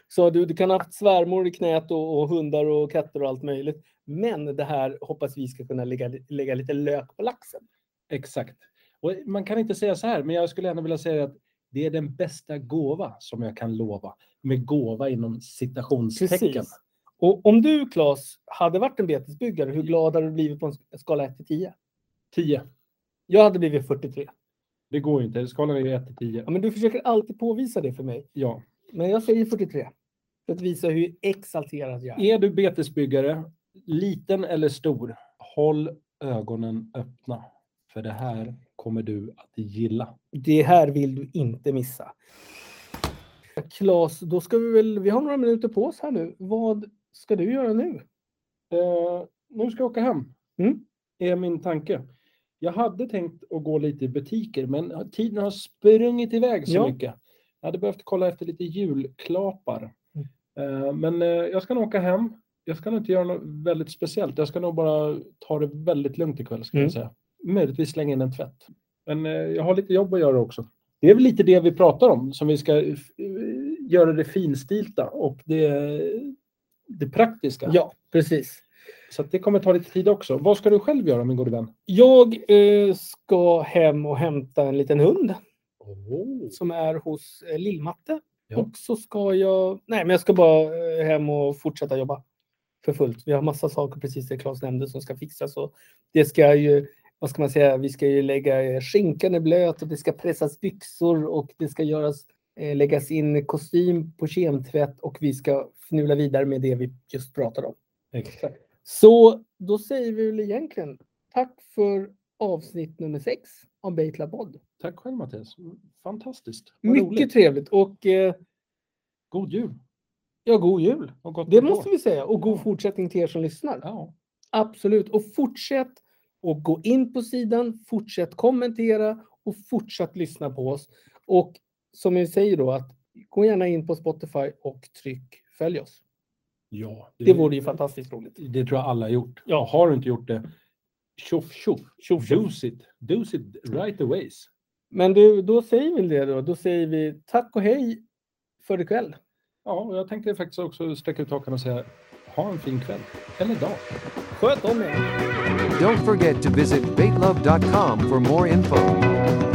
S2: Så du, du kan ha haft svärmor i knät och, och hundar och katter och allt möjligt. Men det här hoppas vi ska kunna lägga, lägga lite lök på laxen.
S3: Exakt. Och man kan inte säga så här, men jag skulle ändå vilja säga att det är den bästa gåva som jag kan lova. Med gåva inom citationstecken.
S2: Precis. Och om du Claes hade varit en betesbyggare, hur glad hade du blivit på en skala 1 till 10?
S3: 10.
S2: Jag hade blivit 43.
S3: Det går ju inte. Skalan är ju 1 till 10.
S2: Ja, men du försöker alltid påvisa det för mig.
S3: Ja.
S2: Men jag säger 43. För att visa hur exalterad jag är.
S3: Är du betesbyggare, liten eller stor, håll ögonen öppna. För det här kommer du att gilla.
S2: Det här vill du inte missa. Claes, då ska vi väl, vi har några minuter på oss här nu. Vad ska du göra nu?
S3: Eh, nu ska jag åka hem,
S2: Mm.
S3: är min tanke. Jag hade tänkt att gå lite i butiker, men tiden har sprungit iväg så
S2: Ja.
S3: mycket. Jag hade behövt kolla efter lite julklapar.
S2: Mm.
S3: Eh, men eh, jag ska nog åka hem. Jag ska nog inte göra något väldigt speciellt. Jag ska nog bara ta det väldigt lugnt ikväll, ska
S2: Mm.
S3: jag säga. Möjligtvis slänga in en tvätt. Men eh, jag har lite jobb att göra också. Det är väl lite det vi pratar om, som vi ska eh, göra det finstilta och det, det praktiska.
S2: Ja, precis.
S3: Så att det kommer ta lite tid också. Vad ska du själv göra min gode vän?
S2: Jag eh, ska hem och hämta en liten hund som är hos eh, Lill-Matte.
S3: Ja.
S2: Och så ska jag... Nej, men jag ska bara eh, hem och fortsätta jobba för fullt. Vi har massa saker, precis det Claes nämnde, som ska fixas. Och det ska ju... Vad ska man säga? Vi ska ju lägga... eh, Skinkan är blöt och det ska pressas byxor och det ska göras, eh, läggas in kostym på kemtvätt och vi ska fnula vidare med det vi just pratade om.
S3: Exakt.
S2: Så då säger vi väl egentligen tack för avsnitt nummer sex av Bejtla podd.
S3: Tack själv Mattias. Fantastiskt. Vad
S2: Mycket
S3: roligt.
S2: trevligt och eh,
S3: God jul.
S2: ja, god jul.
S3: Och gott
S2: Det
S3: nytt
S2: måste
S3: år.
S2: vi säga och god fortsättning till er som lyssnar.
S3: Ja.
S2: Absolut och fortsätt och gå in på sidan, fortsätt kommentera och fortsätt lyssna på oss. Och som vi säger då att gå gärna in på Spotify och tryck följ oss.
S3: ja
S2: Det vore ju fantastiskt roligt.
S3: det tror jag alla har gjort.
S2: Ja.
S3: Har du inte gjort det, tjoff tjoff.
S2: Tjoff, tjoff.
S3: Do it. Do it right away.
S2: Men du, då säger vi det då. Då säger vi tack och hej för ikväll.
S3: Ja, och jag tänkte faktiskt också sträcka ut hakan och säga ha en fin kväll. Eller dag.
S2: Sköt om er.
S1: Don't forget to visit baitlove.com for more info.